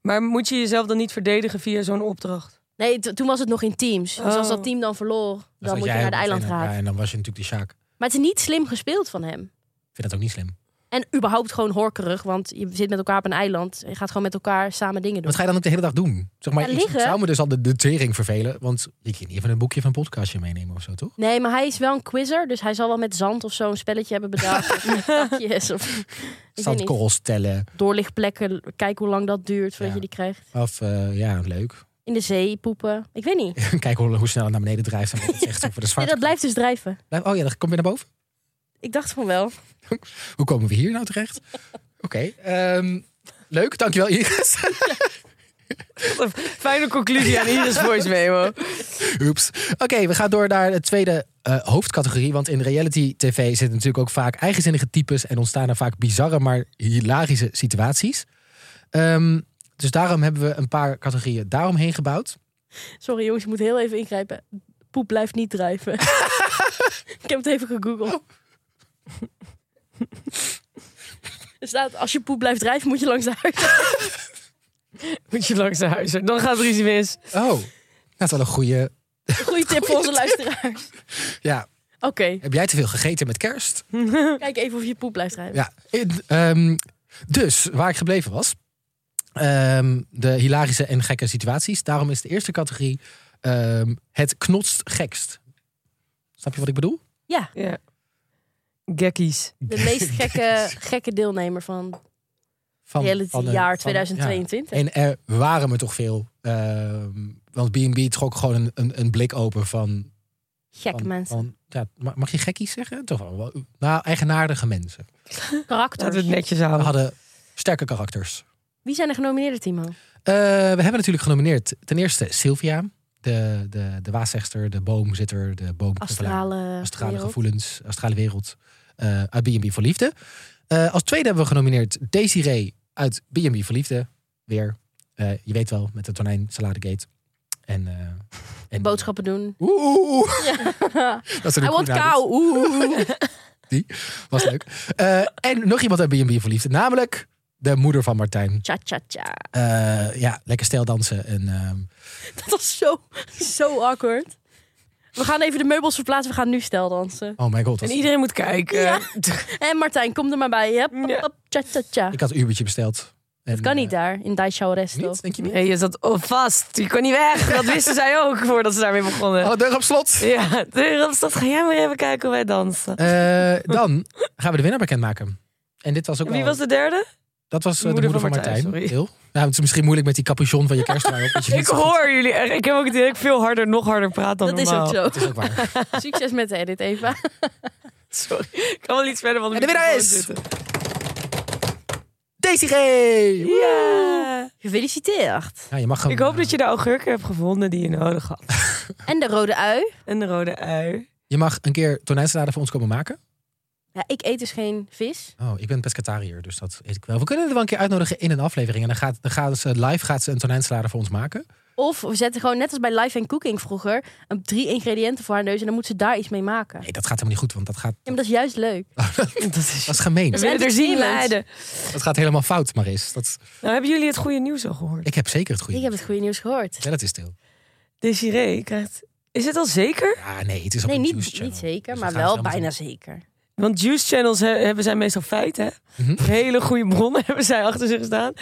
Speaker 3: Maar moet je jezelf dan niet verdedigen via zo'n opdracht?
Speaker 2: Nee, t- toen was het nog in teams. Dus
Speaker 3: Oh.
Speaker 2: als dat team dan verloor, dan,
Speaker 1: Dan zat
Speaker 2: moet je
Speaker 1: Dus jij
Speaker 2: naar de
Speaker 1: meteen
Speaker 2: eiland
Speaker 1: aan-
Speaker 2: raad.
Speaker 1: Ja, en dan was je natuurlijk de Sjaak.
Speaker 2: Maar het is niet slim gespeeld van hem.
Speaker 1: Ik vind dat ook niet slim.
Speaker 2: En überhaupt gewoon horkerig, want je zit met elkaar op een eiland. Je gaat gewoon met elkaar samen dingen doen.
Speaker 1: Wat ga je dan ook de hele dag doen? Zeg maar,
Speaker 2: Ja,
Speaker 1: ik
Speaker 2: liggen.
Speaker 1: zou me dus al de, de tering vervelen. Want je kan niet even een boekje van een podcastje meenemen of zo, toch?
Speaker 2: Nee, maar hij is wel een quizzer, dus hij zal wel met zand of zo een spelletje hebben bedacht. of met takjes of ik weet niet.
Speaker 1: Zandkorrels tellen.
Speaker 2: doorlichtplekken, kijk hoe lang dat duurt voordat
Speaker 1: Ja.
Speaker 2: je die krijgt.
Speaker 1: Of eh, ja, leuk. <laughs>
Speaker 2: In de zee poepen. Ik weet niet.
Speaker 1: Kijk hoe, hoe snel het naar beneden drijft. En wat het zegt
Speaker 2: <laughs>
Speaker 1: over de
Speaker 2: Nee,
Speaker 1: zwarte.
Speaker 2: dat blijft dus drijven.
Speaker 1: Blijf- Oh ja, dat komt weer naar boven.
Speaker 2: Ik dacht van wel.
Speaker 1: Hoe komen we hier nou terecht? Oké. ehm, leuk, dankjewel Iris.
Speaker 3: Fijne conclusie aan Iris Voice Memo.
Speaker 1: Oeps. Oké, we gaan door naar de tweede eh, hoofdcategorie. Want in reality tv zitten natuurlijk ook vaak eigenzinnige types. En ontstaan er vaak bizarre, maar hilarische situaties. Ehm, dus daarom hebben we een paar categorieën daaromheen gebouwd.
Speaker 2: Sorry jongens, ik moet heel even ingrijpen. Poep blijft niet
Speaker 1: <laughs>
Speaker 2: drijven. ik heb het even gegoogeld. Er staat, als je poep blijft drijven, moet je langs de
Speaker 1: <laughs>
Speaker 2: huis.
Speaker 3: <laughs> Moet je langs de huizen. Dan gaat er iets mis.
Speaker 1: Oh, dat is wel een goede.
Speaker 2: Goeie tip voor onze luisteraars.
Speaker 1: Ja,
Speaker 2: Oké,
Speaker 1: <laughs> heb jij te veel gegeten met kerst?
Speaker 2: kijk even of je poep blijft drijven.
Speaker 1: Ja. in- ehm, dus, waar ik gebleven was. Ehm, de hilarische en gekke situaties. Daarom is de eerste categorie ehm, het knotst gekst. Snap je wat ik bedoel?
Speaker 2: Ja,
Speaker 3: Ja. Gekkies.
Speaker 2: de meest gekke, gekke deelnemer van
Speaker 1: Van,
Speaker 2: reality
Speaker 1: van de-
Speaker 2: jaar
Speaker 1: van-
Speaker 2: 2022.
Speaker 1: ja. En er waren me toch veel. ehm, want B&B trok gewoon een, een, een blik open van...
Speaker 2: Gekke
Speaker 1: van-
Speaker 2: mensen.
Speaker 1: van- ja, ma- mag je gekkies zeggen? Toch wel. wel- Nou, eigenaardige mensen.
Speaker 3: Laten
Speaker 2: Karakters.
Speaker 3: we het netjes
Speaker 1: We
Speaker 3: houden.
Speaker 1: hadden sterke karakters.
Speaker 2: Wie zijn de genomineerden, Timo?
Speaker 1: Eh, we hebben natuurlijk genomineerd ten eerste Sylvia. De, de, de waarzegster, de boomzitter, de boomknuffelaar.
Speaker 2: Astrale.
Speaker 1: Astrale
Speaker 2: eh, wereld.
Speaker 1: gevoelens, astrale wereld. eh, uit B&B voor Liefde. Eh, als tweede hebben we genomineerd Desiree uit B&B voor Liefde. Weer. Eh, je weet wel, met de tonijn Saladegate. En, eh,
Speaker 2: <laughs>
Speaker 1: en
Speaker 2: Boodschappen doen.
Speaker 1: Oeh, oeh, oeh.
Speaker 2: Ja.
Speaker 1: <laughs> Dat is
Speaker 2: I
Speaker 1: natuurlijk
Speaker 2: want
Speaker 1: goed
Speaker 2: cow. Oeh.
Speaker 1: <laughs> Was leuk. Eh, en nog iemand uit B&B voor Liefde. Namelijk de moeder van Martijn.
Speaker 2: Cha cha cha.
Speaker 1: Eh, ja, lekker stijl dansen. En, ehm,
Speaker 2: Dat was zo, zo awkward. We gaan even de meubels verplaatsen. We gaan nu stel dansen.
Speaker 1: oh my god. dat-
Speaker 3: En iedereen moet kijken.
Speaker 2: Ja. En Martijn, kom er maar bij. Hup, hup,
Speaker 3: Ja.
Speaker 2: hup, cha cha cha.
Speaker 1: Ik had een Ubertje besteld. En,
Speaker 2: Het kan niet
Speaker 1: eh,
Speaker 2: daar, in Daisho Resto.
Speaker 1: niet, denk je
Speaker 3: <laughs>
Speaker 1: niet?
Speaker 3: Nee, je zat oh, vast. Je kon niet weg. Dat wisten zij ook voordat ze daarmee begonnen.
Speaker 1: Oh, deur op
Speaker 2: <laughs>
Speaker 1: slot.
Speaker 3: Ja, dus dat ga jij maar even kijken hoe wij dansen.
Speaker 1: Eh, dan gaan we de winnaar bekendmaken. En dit was ook
Speaker 3: En wie
Speaker 1: wel-
Speaker 3: was de derde?
Speaker 1: Dat was eh,
Speaker 3: Moeder
Speaker 1: de moeder
Speaker 3: van
Speaker 1: van Martijn.
Speaker 3: Martijn, sorry.
Speaker 1: Heel. Nou, het is misschien moeilijk met die capuchon van je kerstdraai op. want
Speaker 3: <laughs>
Speaker 1: je
Speaker 3: Ik
Speaker 1: vindt het goed.
Speaker 3: hoor jullie echt. Ik heb ook het idee dat ik veel harder, nog harder praat dan
Speaker 2: Dat is
Speaker 3: normaal.
Speaker 2: ook zo.
Speaker 1: Dat is ook waar.
Speaker 2: Succes met de edit, Eva.
Speaker 3: Sorry, ik kan wel iets verder van de
Speaker 1: En de winnaar
Speaker 3: microfoon
Speaker 1: is-
Speaker 3: zitten.
Speaker 1: Desiree!
Speaker 3: Ja.
Speaker 2: Gefeliciteerd.
Speaker 1: Ja, je mag hem,
Speaker 3: Ik hoop dat je de augurken hebt gevonden die je nodig had.
Speaker 2: En de rode ui.
Speaker 3: En de rode ui.
Speaker 1: je mag een keer tonijnsalade voor ons komen maken.
Speaker 2: Ja, ik eet dus geen vis.
Speaker 1: Oh, ik ben pescatariër, dus dat eet ik wel. We kunnen er wel een keer uitnodigen in een aflevering. En dan gaat, dan gaat ze live gaat ze een tonijnsalade voor ons maken.
Speaker 2: Of we zetten gewoon, net als bij Life and Cooking vroeger, een- drie ingrediënten voor haar neus en dan moet ze daar iets mee maken. Ja,
Speaker 1: Nee, dat gaat helemaal niet goed, want dat gaat...
Speaker 2: maar dat is juist leuk.
Speaker 3: Dat is...
Speaker 1: Dat is gemeen.
Speaker 3: We willen er zien
Speaker 2: entertainment.
Speaker 3: leiden.
Speaker 1: Dat gaat helemaal fout, Maris. Dat,
Speaker 3: Nou, hebben jullie het goede nieuws al gehoord?
Speaker 1: ik heb zeker het goede.
Speaker 2: Ik heb het goede nieuws gehoord.
Speaker 1: Ja, dat is stil.
Speaker 3: Desiree krijgt... Is het al zeker?
Speaker 1: Ja, nee, het is op
Speaker 2: Nee,
Speaker 1: een
Speaker 2: niet,
Speaker 1: Juice Channel.
Speaker 2: niet zeker,
Speaker 1: Dus dat gaan
Speaker 2: maar
Speaker 1: ze
Speaker 2: wel
Speaker 1: allemaal
Speaker 2: bijna
Speaker 1: doen.
Speaker 2: zeker.
Speaker 3: Want juice channels he- hebben zijn meestal feiten. hè? <laughs>
Speaker 1: Mhm.
Speaker 3: Hele goede bronnen hebben zij achter zich staan.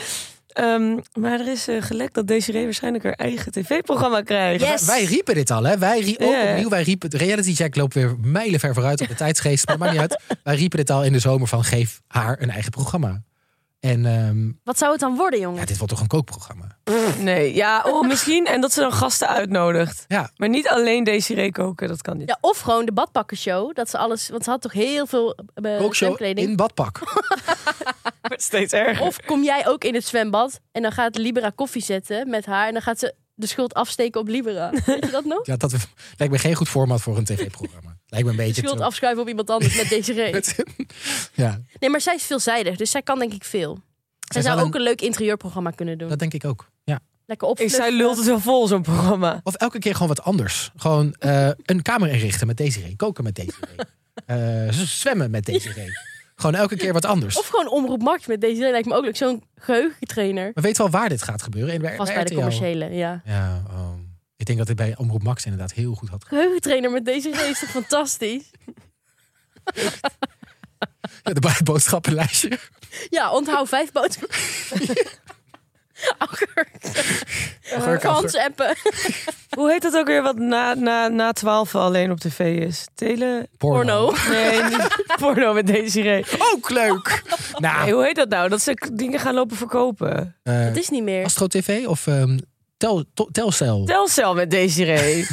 Speaker 3: Ehm, maar er is eh, gelekt dat Desiree waarschijnlijk haar eigen tv-programma krijgt.
Speaker 2: Yes.
Speaker 1: Wij riepen dit al, hè? Wij rie- ook
Speaker 3: Ja.
Speaker 1: opnieuw, wij riepen. het- Reality Jack loopt weer mijlenver vooruit op de tijdsgeest, maar maakt niet uit. Wij riepen dit al in de zomer van geef haar een eigen programma. En ehm,
Speaker 2: Wat zou het dan worden, jongen?
Speaker 1: ja, dit wordt toch een
Speaker 2: Eh,
Speaker 1: kookprogramma?
Speaker 3: <laughs> Nee, ja, oh, misschien. En dat ze dan gasten uitnodigt.
Speaker 1: Ja.
Speaker 3: Maar niet alleen Desiree koken, dat kan niet.
Speaker 2: Ja, of gewoon de badpakkershow. Dat ze alles, want ze had toch heel veel eh,
Speaker 1: Kookshow
Speaker 2: zwemkleding.
Speaker 1: in badpak.
Speaker 3: Het wordt <laughs> steeds erger.
Speaker 2: Of kom jij ook in het zwembad en dan gaat Libera koffie zetten met haar en dan gaat ze de schuld afsteken op
Speaker 1: <laughs>
Speaker 2: Libera. Weet je dat nog?
Speaker 1: Ja, dat lijkt me geen goed format voor een tv-programma. Lijkt me een
Speaker 2: De
Speaker 1: beetje...
Speaker 2: schuld
Speaker 1: te-
Speaker 2: afschuiven op iemand anders met
Speaker 1: <laughs>
Speaker 2: deze reet.
Speaker 1: ja,
Speaker 2: Nee, maar zij is veelzijdig, dus zij kan denk ik veel.
Speaker 1: Zij
Speaker 2: Zij, zou
Speaker 1: zal
Speaker 2: ook
Speaker 1: een-
Speaker 2: een leuk interieurprogramma kunnen doen.
Speaker 1: dat denk ik ook. Ja.
Speaker 2: Lekker
Speaker 3: Ik,
Speaker 2: opvluchten.
Speaker 3: zij lult het wel vol, zo'n programma.
Speaker 1: Of elke keer gewoon wat anders. Gewoon eh, een kamer inrichten met Desiree. Koken met Desiree.
Speaker 2: <laughs>
Speaker 1: Eh, z- zwemmen met Desiree. Gewoon elke keer wat anders.
Speaker 2: Of gewoon omroep Max met deze reet. Lijkt me ook leuk. Zo'n geheugentrainer.
Speaker 1: We weten wel waar dit gaat gebeuren. En bij,
Speaker 2: Vast bij de
Speaker 1: RTL.
Speaker 2: commerciële, ja.
Speaker 1: Ja, oh. ik denk dat dit bij Omroep Max inderdaad heel goed had.
Speaker 2: Geheugentrainer met deze reet is toch
Speaker 1: <laughs>
Speaker 2: fantastisch?
Speaker 1: Ja, de <laughs> bo- boodschappenlijstje.
Speaker 2: Ja, onthoud vijf
Speaker 1: <laughs>
Speaker 2: boodschappen. Akker.
Speaker 1: Augurk,
Speaker 2: Eh, Frans appen.
Speaker 3: Hoe heet dat ook weer wat na, na, na 12 alleen op tv is? Tele...
Speaker 2: Porno.
Speaker 3: Nee,
Speaker 2: <laughs>
Speaker 3: niet porno met Desiree.
Speaker 1: Ook leuk! nou,
Speaker 3: Nee, hoe heet dat nou? Dat ze k- dingen gaan lopen verkopen.
Speaker 1: eh,
Speaker 2: Dat is niet meer.
Speaker 1: Astro TV of ehm, tel, To- Telcel?
Speaker 3: Telcel met
Speaker 1: <laughs>
Speaker 3: Desiree.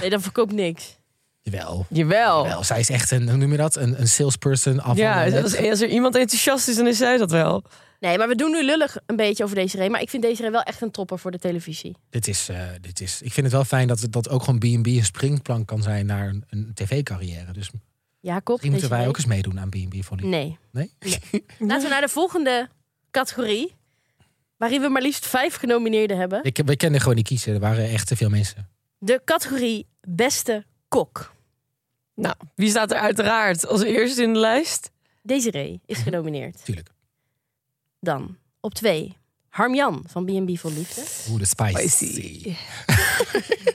Speaker 2: Nee, dat verkoopt niks.
Speaker 1: Jawel.
Speaker 2: Oh.
Speaker 3: Jawel.
Speaker 1: Wel, zij is echt een, hoe noem je dat? Een, een salesperson.
Speaker 3: Ja,
Speaker 1: afhandeling.
Speaker 3: als, als er iemand enthousiast is, dan is zij dat wel.
Speaker 2: Nee, maar we doen nu lullig een beetje over deze Maar ik vind deze wel echt een topper voor de televisie.
Speaker 1: dit is, eh, dit is, ik vind het wel fijn dat, dat ook gewoon B&B een springplank kan zijn naar een, een tv-carrière. Dus misschien
Speaker 2: Jacob,
Speaker 1: moeten wij
Speaker 2: Desiree?
Speaker 1: ook eens meedoen aan B&B voor Liefde.
Speaker 2: Nee.
Speaker 1: Nee?
Speaker 2: Laten we naar de volgende categorie. Waarin we maar liefst vijf genomineerden hebben.
Speaker 1: Ik, we kenden gewoon niet kiezen. Er waren echt te veel mensen.
Speaker 2: De categorie Beste Kok.
Speaker 3: Nou, wie staat er uiteraard als eerste in de lijst?
Speaker 2: Desiree is genomineerd.
Speaker 1: Tuurlijk.
Speaker 2: Dan op twee. Harmjan van B&B voor Liefde. <laughs>
Speaker 1: Oeh, de spicy.
Speaker 3: Spicy.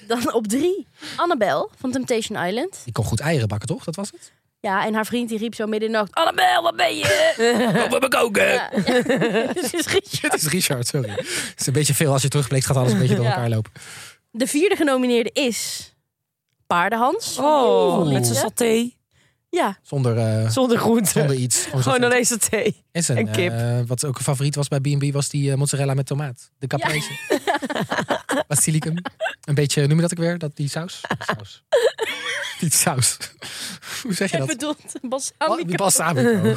Speaker 2: Dan op drie. Annabel van Temptation Island.
Speaker 1: Die kon goed eieren bakken, toch? Dat was het?
Speaker 2: Ja, en haar vriend die riep zo midden in de nacht... Annabel, wat ben je?
Speaker 1: Oh, we koken!
Speaker 2: Ja. <laughs> Dus is Richard.
Speaker 1: Het is Richard, sorry. <laughs> Het is een beetje veel. Als je terugblikt, gaat alles een beetje door
Speaker 2: Ja.
Speaker 1: elkaar lopen.
Speaker 2: De vierde genomineerde is Paardenhans.
Speaker 3: Oh,
Speaker 2: Oeh.
Speaker 3: met zijn saté.
Speaker 2: Ja,
Speaker 1: Zonder, eh,
Speaker 3: Zonder Oh, groente.
Speaker 1: zonder iets. Gewoon zo
Speaker 3: Gewoon
Speaker 1: vet.
Speaker 3: alleen saté.
Speaker 1: Is een,
Speaker 3: en kip.
Speaker 1: eh, wat ook een favoriet was bij B&B was die eh, mozzarella met tomaat. De caprese. Basilicum. Een beetje, noem je dat ook weer? Dat, die saus? saus. Niet saus. <laughs> Hoe zeg je
Speaker 2: ik
Speaker 1: dat?
Speaker 2: bedoel,
Speaker 1: Oh,
Speaker 2: balsamico.
Speaker 1: balsamico.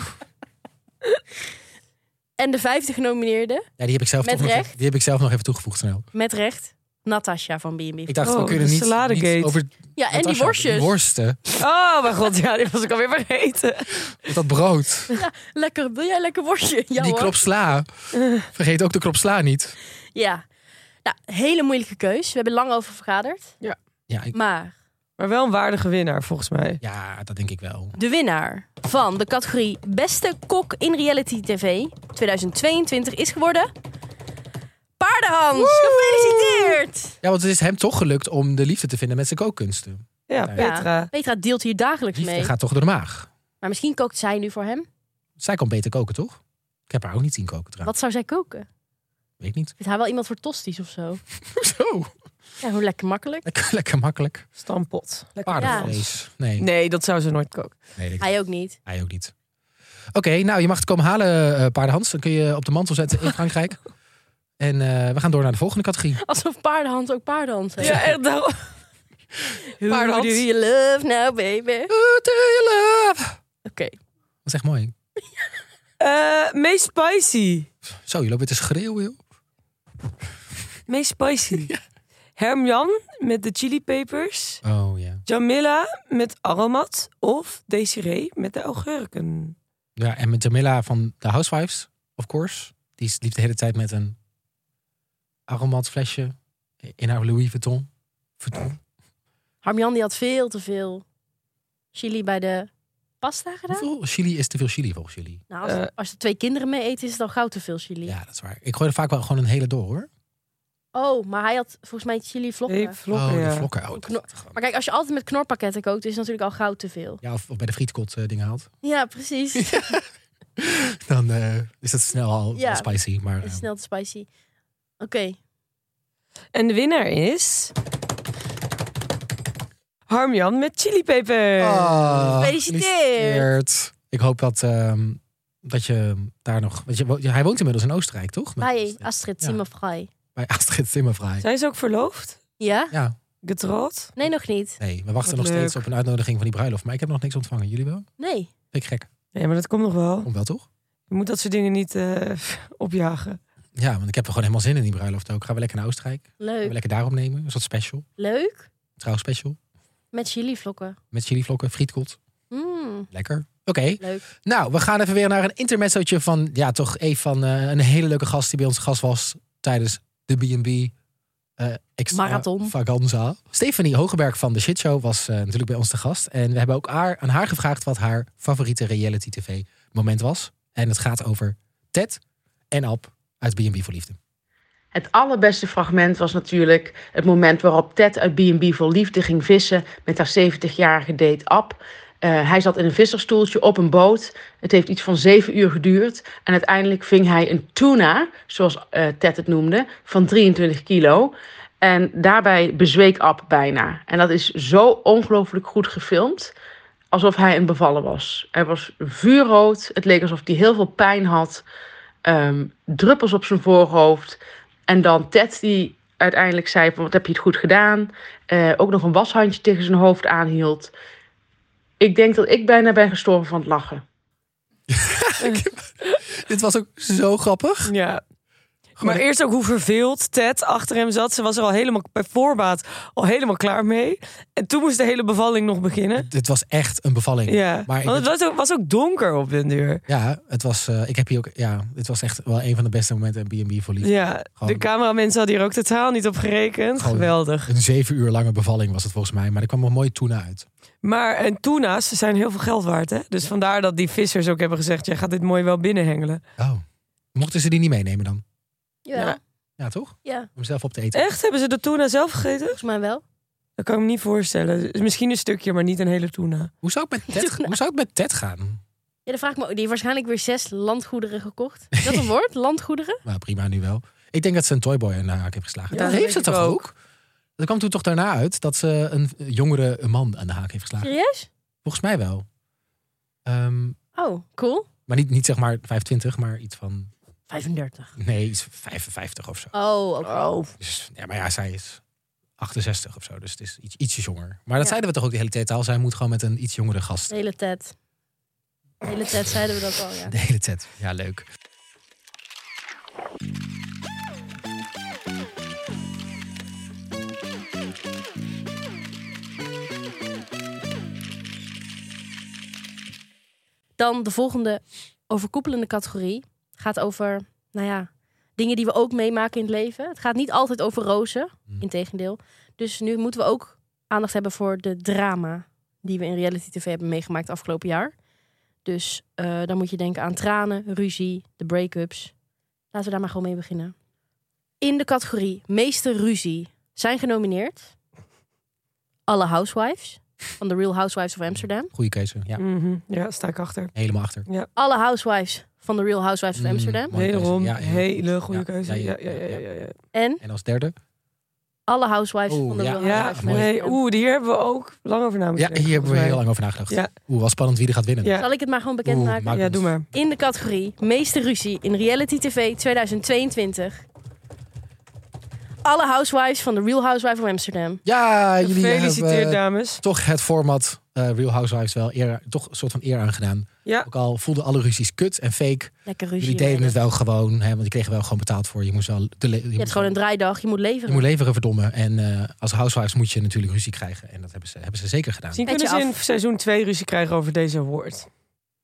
Speaker 2: En de vijfde genomineerde,
Speaker 1: Ja, die heb ik zelf,
Speaker 2: Met
Speaker 1: toch nog,
Speaker 2: recht?
Speaker 1: die heb ik zelf nog even toegevoegd snel.
Speaker 2: met recht, Natasha van B&B.
Speaker 1: Ik dacht,
Speaker 3: Oh,
Speaker 1: we kunnen
Speaker 3: de
Speaker 1: niet,
Speaker 3: saladegate.
Speaker 1: niet over
Speaker 2: Ja, en die
Speaker 1: Natasha,
Speaker 2: worstjes.
Speaker 1: worsten.
Speaker 3: Oh, mijn god, ja, die was ik alweer vergeten.
Speaker 1: Met dat brood.
Speaker 2: Lekker, wil jij lekker worstje? Ja
Speaker 1: die
Speaker 2: hoor.
Speaker 1: klop sla. Vergeet ook de klop sla niet.
Speaker 2: Ja. Nou, hele moeilijke keus. We hebben lang over vergaderd.
Speaker 1: Ja, ik-
Speaker 2: Maar
Speaker 3: Maar wel een waardige winnaar, volgens mij.
Speaker 1: ja, dat denk ik wel.
Speaker 2: de winnaar van de categorie Beste Kok in Reality TV 2022 is geworden... Paardenhans, gefeliciteerd!
Speaker 1: Ja, want het is hem toch gelukt om de liefde te vinden met zijn kookkunsten.
Speaker 3: Ja,
Speaker 1: Ja.
Speaker 3: Petra.
Speaker 2: Petra deelt hier dagelijks
Speaker 1: Liefde
Speaker 2: mee.
Speaker 1: gaat toch door de maag.
Speaker 2: Maar misschien kookt zij nu voor hem.
Speaker 1: Zij kan beter koken, toch? Ik heb haar ook niet zien koken trouwens.
Speaker 2: Wat zou zij koken?
Speaker 1: Weet niet.
Speaker 2: Vindt haar wel iemand voor tosties of <laughs> zo?
Speaker 1: Zo.
Speaker 2: Ja, hoe lekker makkelijk.
Speaker 1: Lekker, lekker makkelijk.
Speaker 3: Stampot.
Speaker 1: Paardenvlees. Nee,
Speaker 3: Nee, dat zou ze nooit koken.
Speaker 1: nee dat-
Speaker 2: Hij ook niet.
Speaker 1: hij ook niet. Oké, nou, je mag het komen halen, eh paardenhans. Dan kun je op de mantel zetten in
Speaker 2: <laughs>
Speaker 1: Frankrijk. En eh, we gaan door naar de volgende categorie.
Speaker 2: Alsof paardenhand ook paardenhand heeft.
Speaker 3: Ja, echt. <laughs> daarom-
Speaker 2: Who
Speaker 3: paardenhand.
Speaker 2: do you love now, baby? Oké.
Speaker 1: Who do you love? Dat is echt mooi.
Speaker 3: Eh, meest spicy.
Speaker 1: Zo, je loopt weer te schreeuwen, joh.
Speaker 3: Meest spicy. Hermjan met de chilipepers.
Speaker 1: Oh, ja.
Speaker 3: Jamila met aromat. Of Desiree met de augurken.
Speaker 1: Ja, en met Jamila van de Housewives, of course. Die liep de hele tijd met een aromatflesje in haar Louis Vuitton. Vuitton.
Speaker 2: Harmjan die had veel te veel chili bij de pasta gedaan.
Speaker 1: Hoeveel chili is te veel chili volgens jullie?
Speaker 2: Nou, als,
Speaker 3: Eh.
Speaker 2: als er twee kinderen mee eten, is het al gauw te veel chili.
Speaker 1: Ja, dat is waar. Ik gooi er vaak wel gewoon een hele door, hoor.
Speaker 2: Oh, maar hij had volgens mij chili vlokken.
Speaker 3: Nee, vlokken,
Speaker 1: oh, die
Speaker 3: ja.
Speaker 1: vlokken. Oh, dat
Speaker 2: Knor-
Speaker 1: gaat gewoon.
Speaker 2: Maar kijk, als je altijd met knorpakketten kookt, is het natuurlijk al gauw te veel.
Speaker 1: Ja, of, of bij de frietkot eh, dingen haalt. <laughs>
Speaker 2: Ja, precies. <laughs>
Speaker 1: Dan eh, is dat snel al
Speaker 2: Ja.
Speaker 1: wel spicy. Maar,
Speaker 2: Het is
Speaker 1: eh,
Speaker 2: snel te spicy. Oké.
Speaker 3: En de winnaar is... Harmjan met chilipeper.
Speaker 1: Ah,
Speaker 2: Gefeliciteerd.
Speaker 1: gefeliciteerd. Ik hoop dat, ehm, dat je daar nog... Want je, wo- hij woont inmiddels in Oostenrijk, toch? Met-
Speaker 2: Bij Astrid
Speaker 1: Ja.
Speaker 2: Zimmerfrei.
Speaker 1: bij Astrid Zimmervrij.
Speaker 3: Zijn ze ook verloofd?
Speaker 2: Ja?
Speaker 1: Ja,
Speaker 3: Getrouwd?
Speaker 2: Nee, nog niet.
Speaker 1: Nee, we wachten
Speaker 3: Wat
Speaker 1: nog
Speaker 3: leuk.
Speaker 1: steeds op een uitnodiging van die bruiloft. Maar ik heb nog niks ontvangen. Jullie wel?
Speaker 2: Nee.
Speaker 1: Vind ik gek.
Speaker 3: Nee, maar dat komt nog wel.
Speaker 1: Om wel toch?
Speaker 3: Je moet dat soort dingen niet eh, <laughs> opjagen.
Speaker 1: Ja, want ik heb er gewoon helemaal zin in die bruiloft ook. Gaan we lekker naar Oostenrijk? Gaan we
Speaker 2: Leuk.
Speaker 1: lekker daar opnemen? Een soort special.
Speaker 2: Leuk.
Speaker 1: Trouwspecial.
Speaker 2: Met chili vlokken.
Speaker 1: Met chilivlokken, frietkot.
Speaker 2: Mm,
Speaker 1: Lekker. Oké,
Speaker 2: leuk.
Speaker 1: nou, we gaan even weer naar een intermezzootje van... Ja, toch even van eh, een hele leuke gast die bij ons gast was... tijdens de B&B eh,
Speaker 2: Marathon.
Speaker 1: extravaganza. Stefanie Hogeberg van The Shit Show was eh, natuurlijk bij ons te gast. En we hebben ook haar, aan haar gevraagd wat haar favoriete reality tv moment was. En het gaat over Ted en Ab uit B&B voor Liefde.
Speaker 5: Het allerbeste fragment was natuurlijk het moment waarop Ted uit B&B voor liefde ging vissen met haar 70-jarige date Ab. Eh, hij zat in een visserstoeltje op een boot. Het heeft iets van zeven uur geduurd. En uiteindelijk ving hij een tuna, zoals eh, Ted het noemde, van 23 kilo. En daarbij bezweek Ab bijna. En dat is zo ongelooflijk goed gefilmd. Alsof hij een bevallen was. Hij was vuurrood. Het leek alsof hij heel veel pijn had. Ehm, druppels op zijn voorhoofd. En dan Ted die uiteindelijk zei van wat heb je het goed gedaan. Eh, ook nog een washandje tegen zijn hoofd aanhield. Ik denk dat ik bijna ben gestorven van het lachen.
Speaker 1: Dit was ook zo grappig.
Speaker 3: Ja.
Speaker 1: Gewoon-
Speaker 3: maar eerst ook hoe verveeld Ted achter hem zat. Ze was er al helemaal bij voorbaat al helemaal klaar mee. En toen moest de hele bevalling nog beginnen.
Speaker 1: Dit was echt een bevalling.
Speaker 3: Ja,
Speaker 1: Maar ik
Speaker 3: want het was ook, was ook donker op den duur.
Speaker 1: Ja, het was, eh, ik heb hier ook, ja, dit was echt wel een van de beste momenten in B&B voor Liefde.
Speaker 3: Ja,
Speaker 1: Gewoon-
Speaker 3: de cameramensen hadden hier ook totaal niet op gerekend.
Speaker 1: Gewoon-
Speaker 3: Geweldig.
Speaker 1: Een zeven uur lange bevalling was het volgens mij. Maar er kwam een mooie tuna uit.
Speaker 3: Maar en tuna's zijn heel veel geld waard, hè? Dus vandaar dat die vissers ook hebben gezegd... jij gaat dit mooi wel binnenhengelen.
Speaker 1: Oh. Mochten ze die niet meenemen dan?
Speaker 2: Jawel.
Speaker 3: Ja.
Speaker 1: Ja, toch?
Speaker 2: ja,
Speaker 1: Om zelf op te eten.
Speaker 3: Echt? Hebben ze de tuna zelf gegeten?
Speaker 2: volgens mij wel.
Speaker 3: Dat kan ik me niet voorstellen. Dus Misschien een stukje, maar niet een hele tuna.
Speaker 1: Hoe zou het met Ted,
Speaker 2: Tuna.
Speaker 1: hoe zou het met Ted gaan?
Speaker 2: Ja, dan vraag ik me ook. Die heeft waarschijnlijk weer zes landgoederen gekocht. Is dat een woord? Landgoederen?
Speaker 1: Nou, prima nu wel. Ik denk dat ze een toyboy in haar haak heeft geslagen.
Speaker 3: Ja,
Speaker 1: dat
Speaker 3: dat
Speaker 1: heeft ze
Speaker 3: denk ik
Speaker 1: toch ook?
Speaker 3: ook.
Speaker 1: Dat kwam toen toch daarna uit dat ze een jongere man aan de haak heeft geslagen.
Speaker 2: Serieus?
Speaker 1: Volgens mij wel. Ehm,
Speaker 2: Oh, cool.
Speaker 1: maar niet, niet zeg maar 25, maar iets van...
Speaker 2: 35.
Speaker 1: Nee, iets van 55 of zo.
Speaker 2: Oh, oké.
Speaker 3: Oh,
Speaker 1: Dus, ja, maar ja, zij is 68 of zo. Dus het is iets, ietsje jonger. Maar dat
Speaker 2: Ja.
Speaker 1: zeiden we toch ook de hele tijd al. Zij moet gewoon met een iets jongere gast.
Speaker 2: de hele tijd. De hele tijd zeiden we dat al, ja.
Speaker 1: De hele tijd. Ja, leuk.
Speaker 2: Dan de volgende overkoepelende categorie gaat over, nou ja, dingen die we ook meemaken in het leven. Het gaat niet altijd over rozen,
Speaker 1: Hmm.
Speaker 2: integendeel. Dus nu moeten we ook aandacht hebben voor de drama die we in reality tv hebben meegemaakt afgelopen jaar. Dus eh, dan moet je denken aan tranen, ruzie, de break-ups. Laten we daar maar gewoon mee beginnen. In de categorie meeste ruzie zijn genomineerd alle housewives van The Real Housewives of Amsterdam.
Speaker 1: Goeie keuze. Ja,
Speaker 3: mhm. ja, sta ik achter.
Speaker 1: helemaal achter.
Speaker 2: alle housewives van The Real Housewives of
Speaker 1: Mm.
Speaker 2: Amsterdam.
Speaker 1: Mooie keuze.
Speaker 3: Wederom,
Speaker 1: Ja, ja.
Speaker 3: hele goede
Speaker 1: Ja,
Speaker 3: keuze.
Speaker 1: ja,
Speaker 3: Ja,
Speaker 1: ja,
Speaker 3: ja, ja,
Speaker 1: ja,
Speaker 3: ja, ja.
Speaker 2: En
Speaker 1: En als derde?
Speaker 2: alle housewives
Speaker 1: Oeh,
Speaker 2: van The
Speaker 1: ja.
Speaker 2: Real
Speaker 3: Ja,
Speaker 2: Housewives of
Speaker 1: mooi.
Speaker 3: nee,
Speaker 2: Amsterdam.
Speaker 3: oeh, die hebben we ook lang over na moeten
Speaker 1: Ja,
Speaker 3: denken,
Speaker 1: hier hebben we
Speaker 3: volgens
Speaker 1: heel
Speaker 3: mij.
Speaker 1: lang over nagedacht.
Speaker 3: Ja.
Speaker 1: Oeh, wel spannend wie er gaat winnen.
Speaker 3: Ja.
Speaker 2: Zal ik het maar gewoon bekend
Speaker 1: Oeh,
Speaker 2: maken?
Speaker 1: maak
Speaker 3: Ja,
Speaker 1: ons.
Speaker 3: doe maar.
Speaker 2: In de categorie meeste ruzie in reality tv 2022. Alle housewives van The Real Housewives of Amsterdam.
Speaker 1: Ja, jullie
Speaker 3: Gefeliciteerd,
Speaker 1: hebben eh,
Speaker 3: dames.
Speaker 1: toch het format eh, Real Housewives wel eer, toch een soort van eer aangedaan.
Speaker 3: Ja.
Speaker 1: Ook al voelden alle ruzies kut en fake.
Speaker 2: Lekker ruzie.
Speaker 1: Jullie deden
Speaker 2: rijden.
Speaker 1: het wel gewoon, hè, want je kreeg er wel gewoon betaald voor. Je moest wel de le- je
Speaker 2: Je
Speaker 1: moest
Speaker 2: hebt gewoon een
Speaker 1: wel-
Speaker 2: draaidag, je moet
Speaker 1: je
Speaker 2: leveren.
Speaker 1: moet leveren, verdomme. En eh, als housewives moet je natuurlijk ruzie krijgen. En dat hebben ze, hebben ze zeker gedaan.
Speaker 3: Misschien
Speaker 2: Petje
Speaker 3: kunnen ze in
Speaker 2: af.
Speaker 3: seizoen 2 ruzie krijgen over deze award.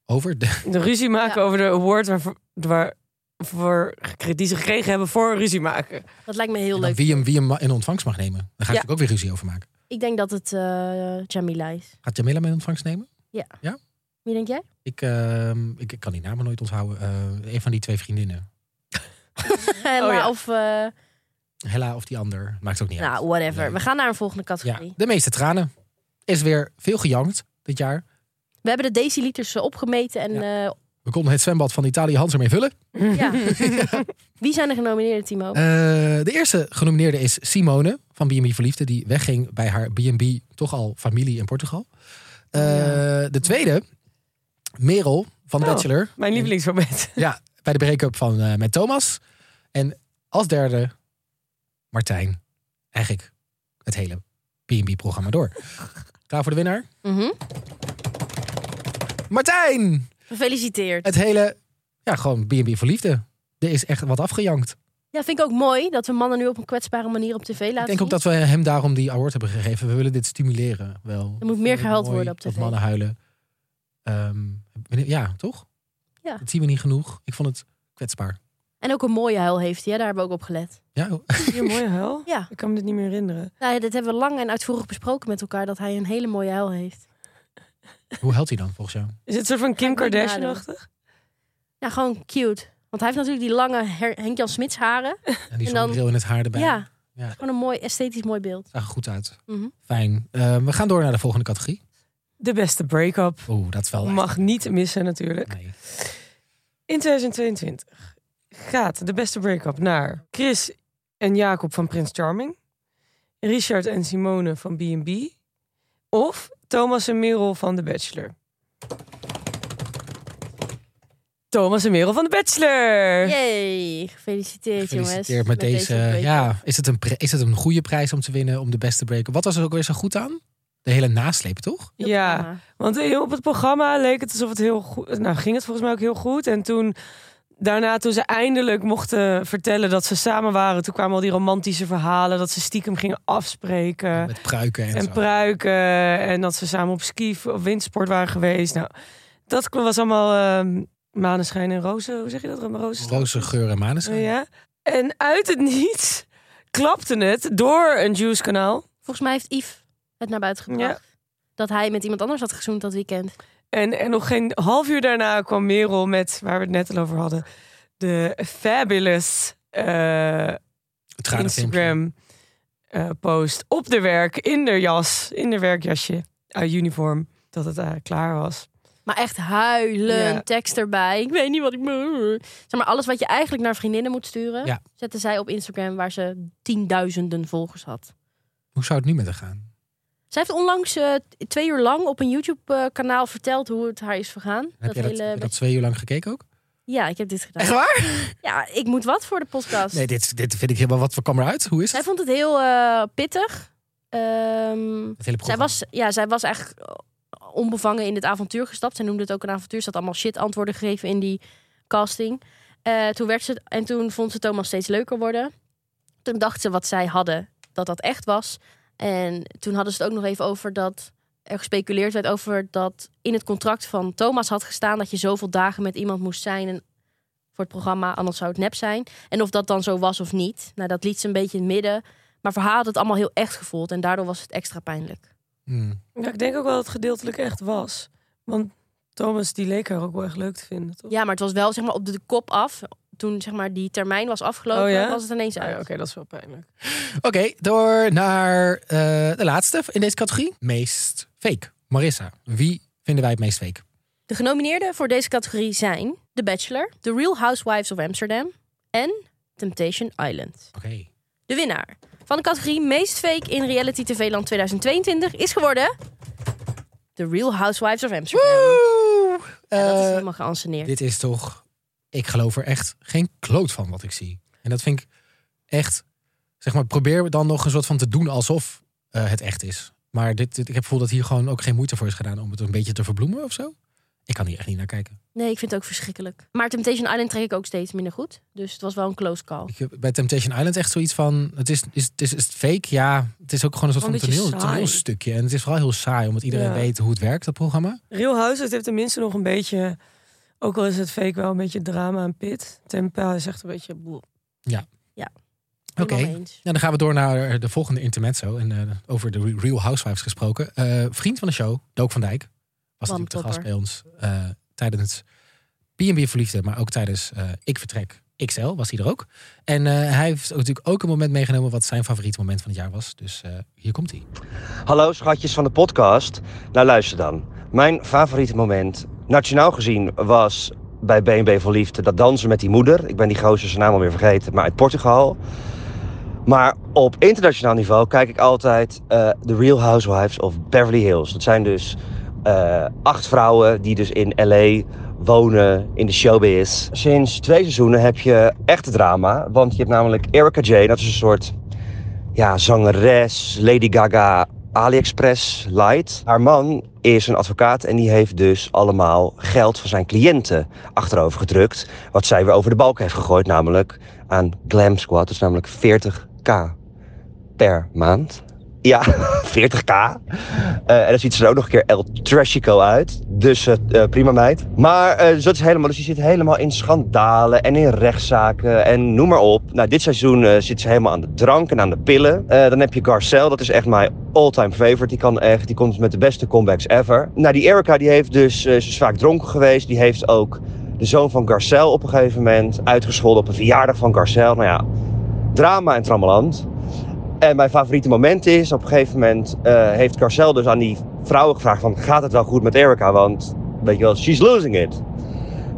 Speaker 1: Over de,
Speaker 3: De ruzie maken
Speaker 2: Ja.
Speaker 3: over de award waarvoor, waar, voor, die ze gekregen hebben voor ruzie maken.
Speaker 2: Dat lijkt me heel
Speaker 1: en dan
Speaker 2: leuk.
Speaker 1: nou, wie, hem, wie hem in ontvangst mag nemen. Daar ga ik natuurlijk ook weer ruzie over maken.
Speaker 2: Ik denk dat het eh Jamila is.
Speaker 1: Gaat Jamila mij in ontvangst nemen?
Speaker 2: Wie denk
Speaker 3: <laughs>
Speaker 2: jij?
Speaker 1: Ik, ehm, ik, ik kan die namen nooit onthouden. Eh, een van die twee vriendinnen.
Speaker 2: Hella
Speaker 3: Oh, ja.
Speaker 2: of... eh,
Speaker 1: Hella of die ander. Maakt ook niet uit.
Speaker 2: nou, whatever. We gaan naar een volgende
Speaker 1: Ja,
Speaker 2: categorie.
Speaker 1: de meeste tranen. Is weer veel gejankt dit jaar.
Speaker 2: We hebben de deciliters eh, opgemeten en eh,
Speaker 1: We konden het zwembad van Italië Hans ermee vullen. <laughs>
Speaker 2: Ja. Wie zijn er genomineerd, Timo?
Speaker 1: Eh, de eerste genomineerde is Simone van B&B Verliefde. Die wegging bij haar B&B toch al familie in Portugal. Eh, De tweede, Merel van
Speaker 3: Oh.
Speaker 1: Bachelor.
Speaker 3: Mijn lievelingsmoment.
Speaker 1: Ja, bij de break-up van, eh, met Thomas. En als derde, Martijn. Eigenlijk het hele B&B-programma door. Klaar voor de winnaar?
Speaker 2: Mhm.
Speaker 1: Martijn!
Speaker 2: Gefeliciteerd.
Speaker 1: het hele, ja, gewoon B&B voor liefde. Er is echt wat afgejankt.
Speaker 2: Ja, vind ik ook mooi dat we mannen nu op een kwetsbare manier op tv laten
Speaker 1: ik denk ook dat we hem daarom die award hebben gegeven. We willen dit stimuleren wel.
Speaker 2: Er moet meer gehuild
Speaker 1: Mooi
Speaker 2: worden op
Speaker 1: Dat
Speaker 2: tv.
Speaker 1: mannen huilen. Ehm, wanneer- ja, toch?
Speaker 2: Ja.
Speaker 1: Dat zien we niet genoeg. Ik vond het kwetsbaar.
Speaker 2: En ook een mooie huil heeft hij, hè? daar hebben we ook op gelet.
Speaker 1: Ja, oh,
Speaker 3: Hier, mooie huil.
Speaker 2: <laughs> Ja.
Speaker 3: Ik kan me dit niet meer herinneren.
Speaker 2: Nou, ja, dit hebben we lang en uitvoerig besproken met elkaar, dat hij een hele mooie huil heeft.
Speaker 1: <laughs> hoe huilt hij dan volgens jou?
Speaker 3: Is het een soort van Kim
Speaker 2: ik niet
Speaker 3: Kardashian-achtig?
Speaker 2: Ja, gewoon cute. Want hij heeft natuurlijk die lange Her- Henk-Jan Smits haren.
Speaker 1: En die
Speaker 2: En dan-
Speaker 1: zonnebril in het haar erbij.
Speaker 2: Ja.
Speaker 1: Ja.
Speaker 2: Gewoon een mooi, esthetisch mooi beeld.
Speaker 1: Zag er goed uit.
Speaker 2: Mhm.
Speaker 1: Fijn. Ehm, we gaan door naar de volgende categorie.
Speaker 3: De beste break-up.
Speaker 1: Oeh, dat is wel echt-
Speaker 3: Mag niet missen natuurlijk.
Speaker 1: Nee.
Speaker 3: In 2022 gaat de beste break-up naar Chris en Jacob van Prins Charming, Richard en Simone van B&B of Thomas en Merel van The Bachelor. Thomas en Merel van The Bachelor.
Speaker 2: Yay, gefeliciteerd,
Speaker 1: Gefeliciteerd
Speaker 2: jongens.
Speaker 1: met deze.
Speaker 2: break-up.
Speaker 1: ja, is het, een pre- is het een goede prijs om te winnen? Om de beste break Wat was er ook weer zo goed aan? De hele nasleep, toch?
Speaker 2: Heel
Speaker 3: ja.
Speaker 2: programma.
Speaker 3: Want heel op het programma leek het alsof het heel goed... Nou, ging het volgens mij ook heel goed. En toen, daarna, toen ze eindelijk mochten vertellen dat ze samen waren... toen kwamen al die romantische verhalen, dat ze stiekem gingen afspreken.
Speaker 1: Met pruiken en,
Speaker 3: En
Speaker 1: zo.
Speaker 3: pruiken. En dat ze samen op ski of windsport waren geweest. Nou, dat was allemaal ehm maneschijn en rozen. Hoe zeg je dat? Rozen.
Speaker 1: Roze geur en maneschijn.
Speaker 3: Oh Ja. En uit het niets klapte het door een Juice kanaal.
Speaker 2: Volgens mij heeft Yves het naar buiten gebracht. Dat hij met iemand anders had gezoend dat weekend.
Speaker 3: En, en nog geen half uur daarna kwam Merel met, waar we het net al over hadden, de fabulous eh,
Speaker 1: Het tranenfilmpje.
Speaker 3: Instagram eh, post op de werk, in de jas, in de werkjasje, uit uniform, dat het eh, klaar was.
Speaker 2: Maar echt huilen,
Speaker 3: Ja.
Speaker 2: tekst erbij. Ik weet niet wat ik moet. Zeg maar, alles wat je eigenlijk naar vriendinnen moet sturen,
Speaker 1: Ja.
Speaker 2: zetten zij op Instagram waar ze tienduizenden volgers had.
Speaker 1: Hoe zou het nu met haar gaan?
Speaker 2: Zij heeft onlangs eh, t- twee uur lang op een YouTube-kanaal verteld hoe het haar is vergaan.
Speaker 1: Heb
Speaker 2: Dat
Speaker 1: jij dat,
Speaker 2: hele...
Speaker 1: heb je dat twee uur lang gekeken ook?
Speaker 2: Ja, ik heb dit gedaan.
Speaker 1: Echt waar?
Speaker 2: Ja, ik moet wat voor de podcast.
Speaker 1: Nee, dit, dit vind ik helemaal... Wat voor kwam eruit? Hoe is
Speaker 2: Zij
Speaker 1: het?
Speaker 2: vond het heel eh, pittig. Ehm,
Speaker 1: Het hele
Speaker 2: zij,
Speaker 1: programma.
Speaker 2: was, ja, zij was eigenlijk onbevangen in het avontuur gestapt. Zij noemde het ook een avontuur. Ze had allemaal shit antwoorden gegeven in die casting. Eh, toen werd ze, en toen vond ze Thomas steeds leuker worden. Toen dacht ze wat zij hadden, dat dat echt was. En toen hadden ze het ook nog even over dat er gespeculeerd werd over dat in het contract van Thomas had gestaan dat je zoveel dagen met iemand moest zijn en voor het programma, anders zou het nep zijn. En of dat dan zo was of niet. Nou, dat liet ze een beetje in het midden. Maar voor haar had het allemaal heel echt gevoeld en daardoor was het extra pijnlijk.
Speaker 1: Hmm.
Speaker 3: Ja, ik denk ook wel dat het gedeeltelijk echt was. Want Thomas die leek haar ook wel echt leuk te vinden, toch?
Speaker 2: Ja, maar het was wel zeg maar op de kop af. Toen zeg maar die termijn was afgelopen,
Speaker 3: Oh ja?
Speaker 2: was het ineens
Speaker 3: Ah ja,
Speaker 2: uit.
Speaker 3: Oké, dat is wel pijnlijk.
Speaker 1: Oké, door naar eh, de laatste in deze categorie. Meest fake. Marissa, wie vinden wij het meest fake?
Speaker 2: De genomineerden voor deze categorie zijn The Bachelor, The Real Housewives of Amsterdam en Temptation Island.
Speaker 1: Oké.
Speaker 2: De winnaar van de categorie meest fake in reality TV land 2022 is geworden The Real Housewives of Amsterdam.
Speaker 1: Woe!
Speaker 2: Ja, dat is
Speaker 1: Eh,
Speaker 2: helemaal geanceneerd.
Speaker 1: dit is toch... Ik geloof er echt geen kloot van wat ik zie. En dat vind ik echt... Zeg maar, probeer dan nog een soort van te doen alsof eh, het echt is. Maar dit, dit- ik heb het gevoel dat hier gewoon ook geen moeite voor is gedaan... om het een beetje te verbloemen of zo. Ik kan hier echt niet naar kijken.
Speaker 2: Nee, ik vind het ook verschrikkelijk. Maar Temptation Island trek ik ook steeds minder goed. Dus het was wel een close call.
Speaker 1: Ik heb bij Temptation Island echt zoiets van... Het is, is, het is, is het fake, ja. Het is ook gewoon een soort
Speaker 3: Gewoon
Speaker 1: van
Speaker 3: een beetje
Speaker 1: toneel,
Speaker 3: saai.
Speaker 1: toneelstukje. En het is vooral heel saai, omdat iedereen
Speaker 3: Ja.
Speaker 1: weet hoe het werkt, dat programma.
Speaker 3: Real House, het heeft tenminste nog een beetje... Ook al is het fake wel een beetje drama en pit. Tempa is echt een beetje... boel.
Speaker 1: Oké.
Speaker 2: Helemaal mee eens.
Speaker 1: Nou, dan gaan we door naar de volgende intermezzo. En eh, over de Re- Real Housewives gesproken. Eh, vriend van de show, Dook van Dijk, was natuurlijk te
Speaker 2: Wantopper.
Speaker 1: gast bij ons eh, tijdens B&B Verliefde, maar ook tijdens eh, Ik Vertrek XL was hij er ook. En eh, hij heeft natuurlijk ook een moment meegenomen wat zijn favoriete moment van het jaar was. Dus eh, hier komt hij.
Speaker 6: Hallo schatjes van de podcast. Nou luister dan. Mijn favoriete moment, nationaal gezien, was bij BNB voor Liefde dat dansen met die moeder. Ik ben die gozer zijn naam alweer vergeten, maar uit Portugal. Maar op internationaal niveau kijk ik altijd eh The Real Housewives of Beverly Hills. Dat zijn dus eh, acht vrouwen die dus in LA wonen, in de showbiz. Sinds twee seizoenen heb je echte drama, want je hebt namelijk Erica Jane, dat is een soort ja, zangeres, Lady Gaga, AliExpress, Light. Haar man is een advocaat en die heeft dus allemaal geld van zijn cliënten achterover gedrukt. Wat zij weer over de balk heeft gegooid, namelijk aan Glam Squad. Dat is namelijk 40k per maand. Ja, 40k. Eh, en dan ziet ze er ook nog een keer El Trashico uit. Dus eh, eh, prima meid. Maar eh, dus dat is helemaal. Dus je zit helemaal in schandalen en in rechtszaken en noem maar op. Nou, dit seizoen eh, zit ze helemaal aan de drank en aan de pillen. Eh, dan heb je Garcelle, dat is echt mijn all-time favorite. Die kan echt, die komt met de beste comebacks ever. Nou, die Erica, die heeft dus, eh, ze is vaak dronken geweest. Die heeft ook de zoon van Garcelle op een gegeven moment uitgescholden op een verjaardag van Garcelle. Nou ja, drama en trammeland. En mijn favoriete moment is, op een gegeven moment eh, heeft Carcel dus aan die vrouwen gevraagd van, gaat het wel goed met Erica? Want, weet je wel, she's losing it.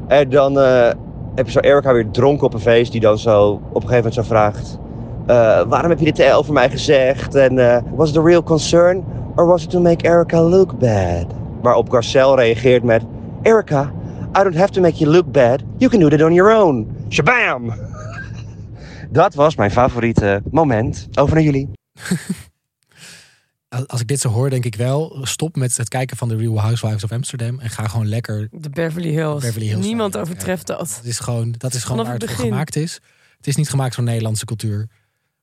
Speaker 6: En dan eh, heb je zo Erica weer dronken op een feest, die dan zo op een gegeven moment zo vraagt, eh, waarom heb je dit over mij gezegd? En eh, was it a real concern? Or was it to make Erica look bad? Waarop Carcel reageert met, Erica, I don't have to make you look bad. You can do that on your own. Shabam! Dat was mijn favoriete moment. Over naar jullie.
Speaker 1: Als als ik dit zo hoor, denk ik wel, stop met het kijken van de Real Housewives of Amsterdam. En ga gewoon lekker
Speaker 3: De Beverly Hills.
Speaker 1: Beverly Hills,
Speaker 3: Niemand
Speaker 1: ja, ja.
Speaker 3: overtreft dat.
Speaker 1: Dat is gewoon, dat is gewoon
Speaker 3: Vanaf
Speaker 1: waar
Speaker 3: het
Speaker 1: het voor
Speaker 3: begin.
Speaker 1: gemaakt is. Het is niet gemaakt voor Nederlandse cultuur.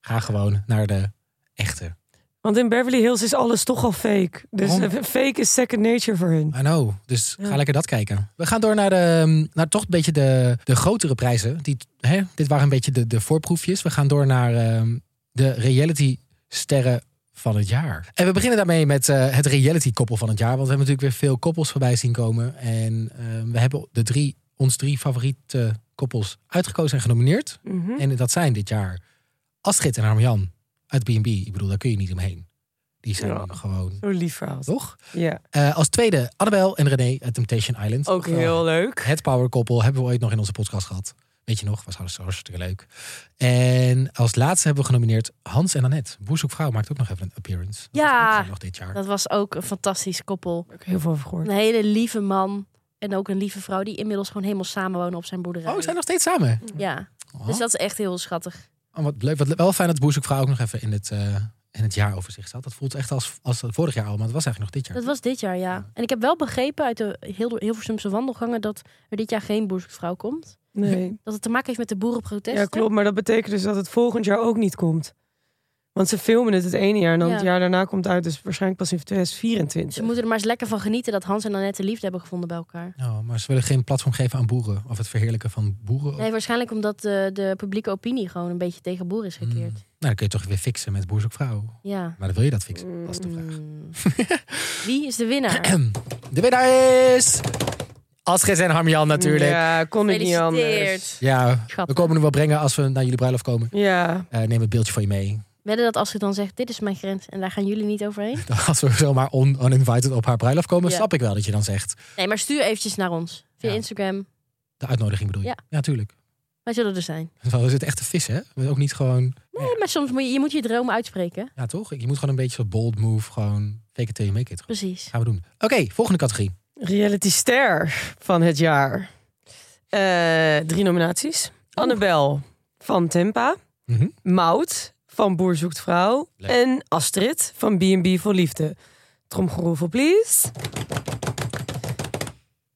Speaker 1: Ga gewoon naar de echte.
Speaker 3: Want in Beverly Hills is alles toch al fake. Dus
Speaker 1: Waarom?
Speaker 3: eh, <laughs> fake is second nature voor hun.
Speaker 1: I know. Dus
Speaker 3: Ja.
Speaker 1: ga lekker dat kijken. We gaan door naar, de, ehm, naar toch een beetje de, de grotere prijzen. Die, hè, dit waren een beetje de, de voorproefjes. We gaan door naar ehm, de reality sterren van het jaar. En we beginnen daarmee met eh, het reality koppel van het jaar. Want we hebben natuurlijk weer veel koppels voorbij zien komen. En ehm, we hebben de drie, ons drie favoriete koppels uitgekozen en genomineerd.
Speaker 3: Mhm.
Speaker 1: En dat zijn dit jaar Astrid en Armjan uit B&B. Ik bedoel, daar kun je niet omheen. Die zijn
Speaker 3: Ja.
Speaker 1: gewoon,
Speaker 3: Zo lief verhaal.
Speaker 1: toch?
Speaker 3: Ja,
Speaker 1: Eh, als tweede, Annabel en René uit Temptation Island.
Speaker 3: ook
Speaker 1: Wel,
Speaker 3: heel leuk.
Speaker 1: Het powerkoppel hebben we ooit nog in onze podcast gehad. Weet je nog, was alles hartstikke leuk. En als laatste hebben we genomineerd Hans en Annette. Boerzoekvrouw maakt ook nog even een appearance. Dat
Speaker 2: Ja.
Speaker 1: was ook nog dit jaar.
Speaker 2: Dat was ook een fantastisch koppel.
Speaker 3: Heb ik heel veel over gehoord.
Speaker 2: Een hele lieve man en ook een lieve vrouw die inmiddels gewoon helemaal samenwonen op zijn boerderij.
Speaker 1: Oh, ze zijn nog steeds samen.
Speaker 2: Ja,
Speaker 1: Oh,
Speaker 2: dus dat is echt heel schattig.
Speaker 1: oh, wat leuk. Wat le- wel fijn dat Boerzoekvrouw ook nog even in het, eh, in het jaaroverzicht zat. Dat voelt echt als, als het vorig jaar al, maar het was eigenlijk nog dit
Speaker 2: Dat
Speaker 1: jaar.
Speaker 2: was dit jaar, ja. En ik heb wel begrepen uit de heel Hilversumse wandelgangen dat er dit jaar geen boerzoekvrouw komt.
Speaker 3: Nee.
Speaker 2: Dat het te maken heeft met de boerenprotesten.
Speaker 3: Ja, klopt. Maar dat betekent dus dat het volgend jaar ook niet komt. Want ze filmen het het ene jaar en dan
Speaker 2: Ja.
Speaker 3: het jaar daarna komt het uit. Dus waarschijnlijk pas in
Speaker 2: Ze
Speaker 3: 2024.
Speaker 2: moeten er maar eens lekker van genieten dat Hans en Annette liefde hebben gevonden bij elkaar.
Speaker 1: Oh, maar ze willen geen platform geven aan boeren. Of het verheerlijken van boeren. Of-
Speaker 2: Nee, waarschijnlijk omdat de, de publieke opinie gewoon een beetje tegen boeren is gekeerd.
Speaker 1: Mm. Nou, dan kun je toch weer fixen met Boerzoekvrouw.
Speaker 2: Ja.
Speaker 1: Maar dan wil je dat fixen? Dat is de vraag.
Speaker 2: Mm. Wie is de winnaar?
Speaker 1: <clears throat> De winnaar is... Astrid en Harmjan natuurlijk. Ja,
Speaker 3: Ja, kon ik niet anders.
Speaker 2: eh, Gefeliciteerd.
Speaker 1: we
Speaker 2: Schattig.
Speaker 1: komen hem wel brengen als we naar jullie bruiloft komen.
Speaker 3: Ja,
Speaker 1: Eh, neem het beeldje van je mee. <laughs>
Speaker 2: Wedden dat als ze dan zegt, dit is mijn grens en daar gaan jullie niet overheen?
Speaker 1: Dan Als we zomaar on, uninvited op haar bruiloft komen,
Speaker 2: Ja.
Speaker 1: snap ik wel dat je dan zegt.
Speaker 2: Nee, maar stuur eventjes naar ons. Via
Speaker 1: Ja.
Speaker 2: Instagram.
Speaker 1: De uitnodiging bedoel je?
Speaker 2: Ja.
Speaker 1: natuurlijk.
Speaker 2: Wij zullen er zijn.
Speaker 1: Zo is het echt te vis, hè? We ook niet gewoon...
Speaker 2: Nee, maar soms moet je, je moet je dromen uitspreken.
Speaker 1: Ja, toch? Je moet gewoon een beetje zo'n bold move. Gewoon fake it till you make it.
Speaker 2: Precies.
Speaker 1: Gaan we doen. Oké, volgende categorie.
Speaker 3: reality ster van het jaar. Eh, drie nominaties. Annabel van Tempa.
Speaker 1: Mhm.
Speaker 3: Maud van Boer Zoekt Vrouw.
Speaker 1: Leuk.
Speaker 3: En Astrid van B&B voor Liefde. Tromgeroffel, please.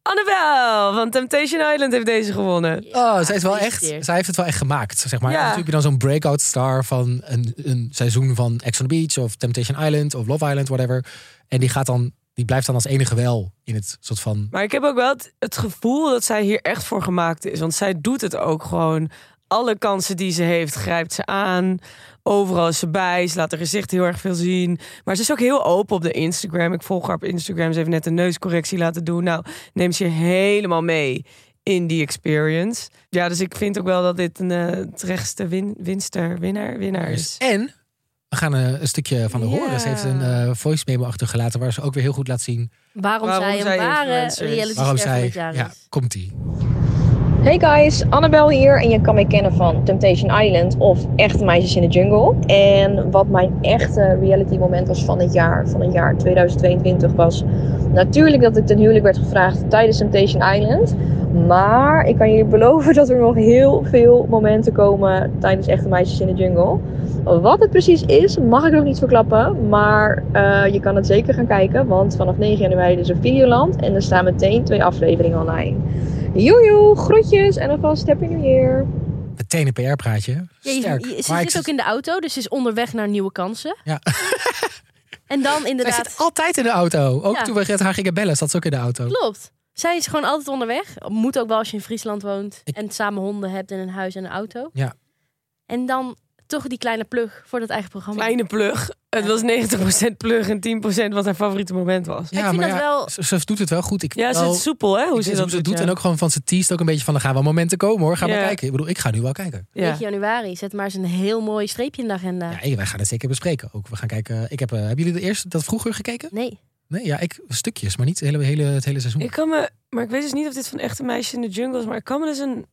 Speaker 3: Annabel van Temptation Island heeft deze gewonnen.
Speaker 1: Oh, zij, is wel echt,
Speaker 2: gefeliciteerd.
Speaker 1: zij heeft het wel echt gemaakt, zeg maar.
Speaker 3: Ja.
Speaker 1: Natuurlijk heb je dan zo'n breakout star van een, een seizoen van Ex on the Beach... of Temptation Island of Love Island, whatever. En die, gaat dan, die blijft dan als enige wel in het soort van...
Speaker 3: Maar ik heb ook wel het, het gevoel dat zij hier echt voor gemaakt is. Want zij doet het ook gewoon. Alle kansen die ze heeft, grijpt ze aan. Overal is ze bij. Ze laat haar gezicht heel erg veel zien. Maar ze is ook heel open op de Instagram. Ik volg haar op Instagram. Ze heeft net een neuscorrectie laten doen. Nou, neemt ze je helemaal mee in die experience. Ja, dus ik vind ook wel dat dit een eh, terechtste win, winster, winnaar, winnaar is.
Speaker 1: En we gaan eh, een stukje van haar
Speaker 3: Ja.
Speaker 1: horen. Ze heeft een eh, voice memo achtergelaten waar ze ook weer heel goed laat zien...
Speaker 2: Waarom,
Speaker 3: Waarom
Speaker 2: zij een
Speaker 3: zij
Speaker 2: ware
Speaker 3: influencer is.
Speaker 2: reality
Speaker 1: waarom
Speaker 2: ster van
Speaker 1: zij...
Speaker 2: het jaar
Speaker 1: Ja,
Speaker 2: is.
Speaker 1: komt die.
Speaker 7: Hey guys, Annabel hier en je kan mij kennen van Temptation Island of Echte Meisjes in de Jungle. En wat mijn echte reality moment was van dit jaar, van het jaar 2022, was natuurlijk dat ik ten huwelijk werd gevraagd tijdens Temptation Island. Maar ik kan jullie beloven dat er nog heel veel momenten komen tijdens Echte Meisjes in de Jungle. Wat het precies is, mag ik nog niet verklappen. Maar eh, je kan het zeker gaan kijken, want vanaf 9 januari is er Videoland en er staan meteen twee afleveringen online. Joejoe, groetjes en alvast Happy New Year.
Speaker 1: Meteen een PR-praatje.
Speaker 2: Ja, je-
Speaker 1: Sterk.
Speaker 2: je- ze
Speaker 1: Maar ik
Speaker 2: zit ook in de auto, dus ze is onderweg naar nieuwe kansen.
Speaker 1: Ja.
Speaker 2: <laughs> en dan
Speaker 1: zij
Speaker 2: inderdaad...
Speaker 1: zit altijd in de auto. Ook
Speaker 2: Ja.
Speaker 1: toen we Gert haar gingen bellen, zat ze ook in de auto.
Speaker 2: Klopt. Zij is gewoon altijd onderweg. Moet ook wel als je in Friesland woont en samen honden hebt en een huis en een auto.
Speaker 1: Ja.
Speaker 2: En dan toch die kleine plug voor dat eigen programma.
Speaker 3: Kleine plug. Het was 90% plug en 10% wat haar favoriete moment was.
Speaker 2: Ik vind dat wel-
Speaker 1: ze, ze doet het wel goed. Ik
Speaker 3: Ja, ze
Speaker 1: wel-
Speaker 3: is soepel hè, hoe
Speaker 1: Nou, Ik
Speaker 3: ze
Speaker 1: weet
Speaker 3: dat
Speaker 1: hoe
Speaker 3: doet.
Speaker 1: doet.
Speaker 3: ja.
Speaker 1: En ook gewoon van ze teest ook een beetje van... er gaan wel momenten komen hoor, gaan we
Speaker 3: Ja.
Speaker 1: kijken. Ik bedoel, ik ga nu wel kijken.
Speaker 2: 9 januari. Zet maar eens een heel mooi streepje in de agenda.
Speaker 1: Ja, hey, wij gaan het zeker bespreken ook. We gaan kijken. Ik heb, eh, hebben jullie de eerste dat vroeger gekeken?
Speaker 2: Nee.
Speaker 1: Nee, ja, ik stukjes, maar niet het hele, hele, het hele seizoen.
Speaker 3: Ik kan me, maar ik weet dus niet of dit van echte meisje in de jungle is, maar ik kan me dus een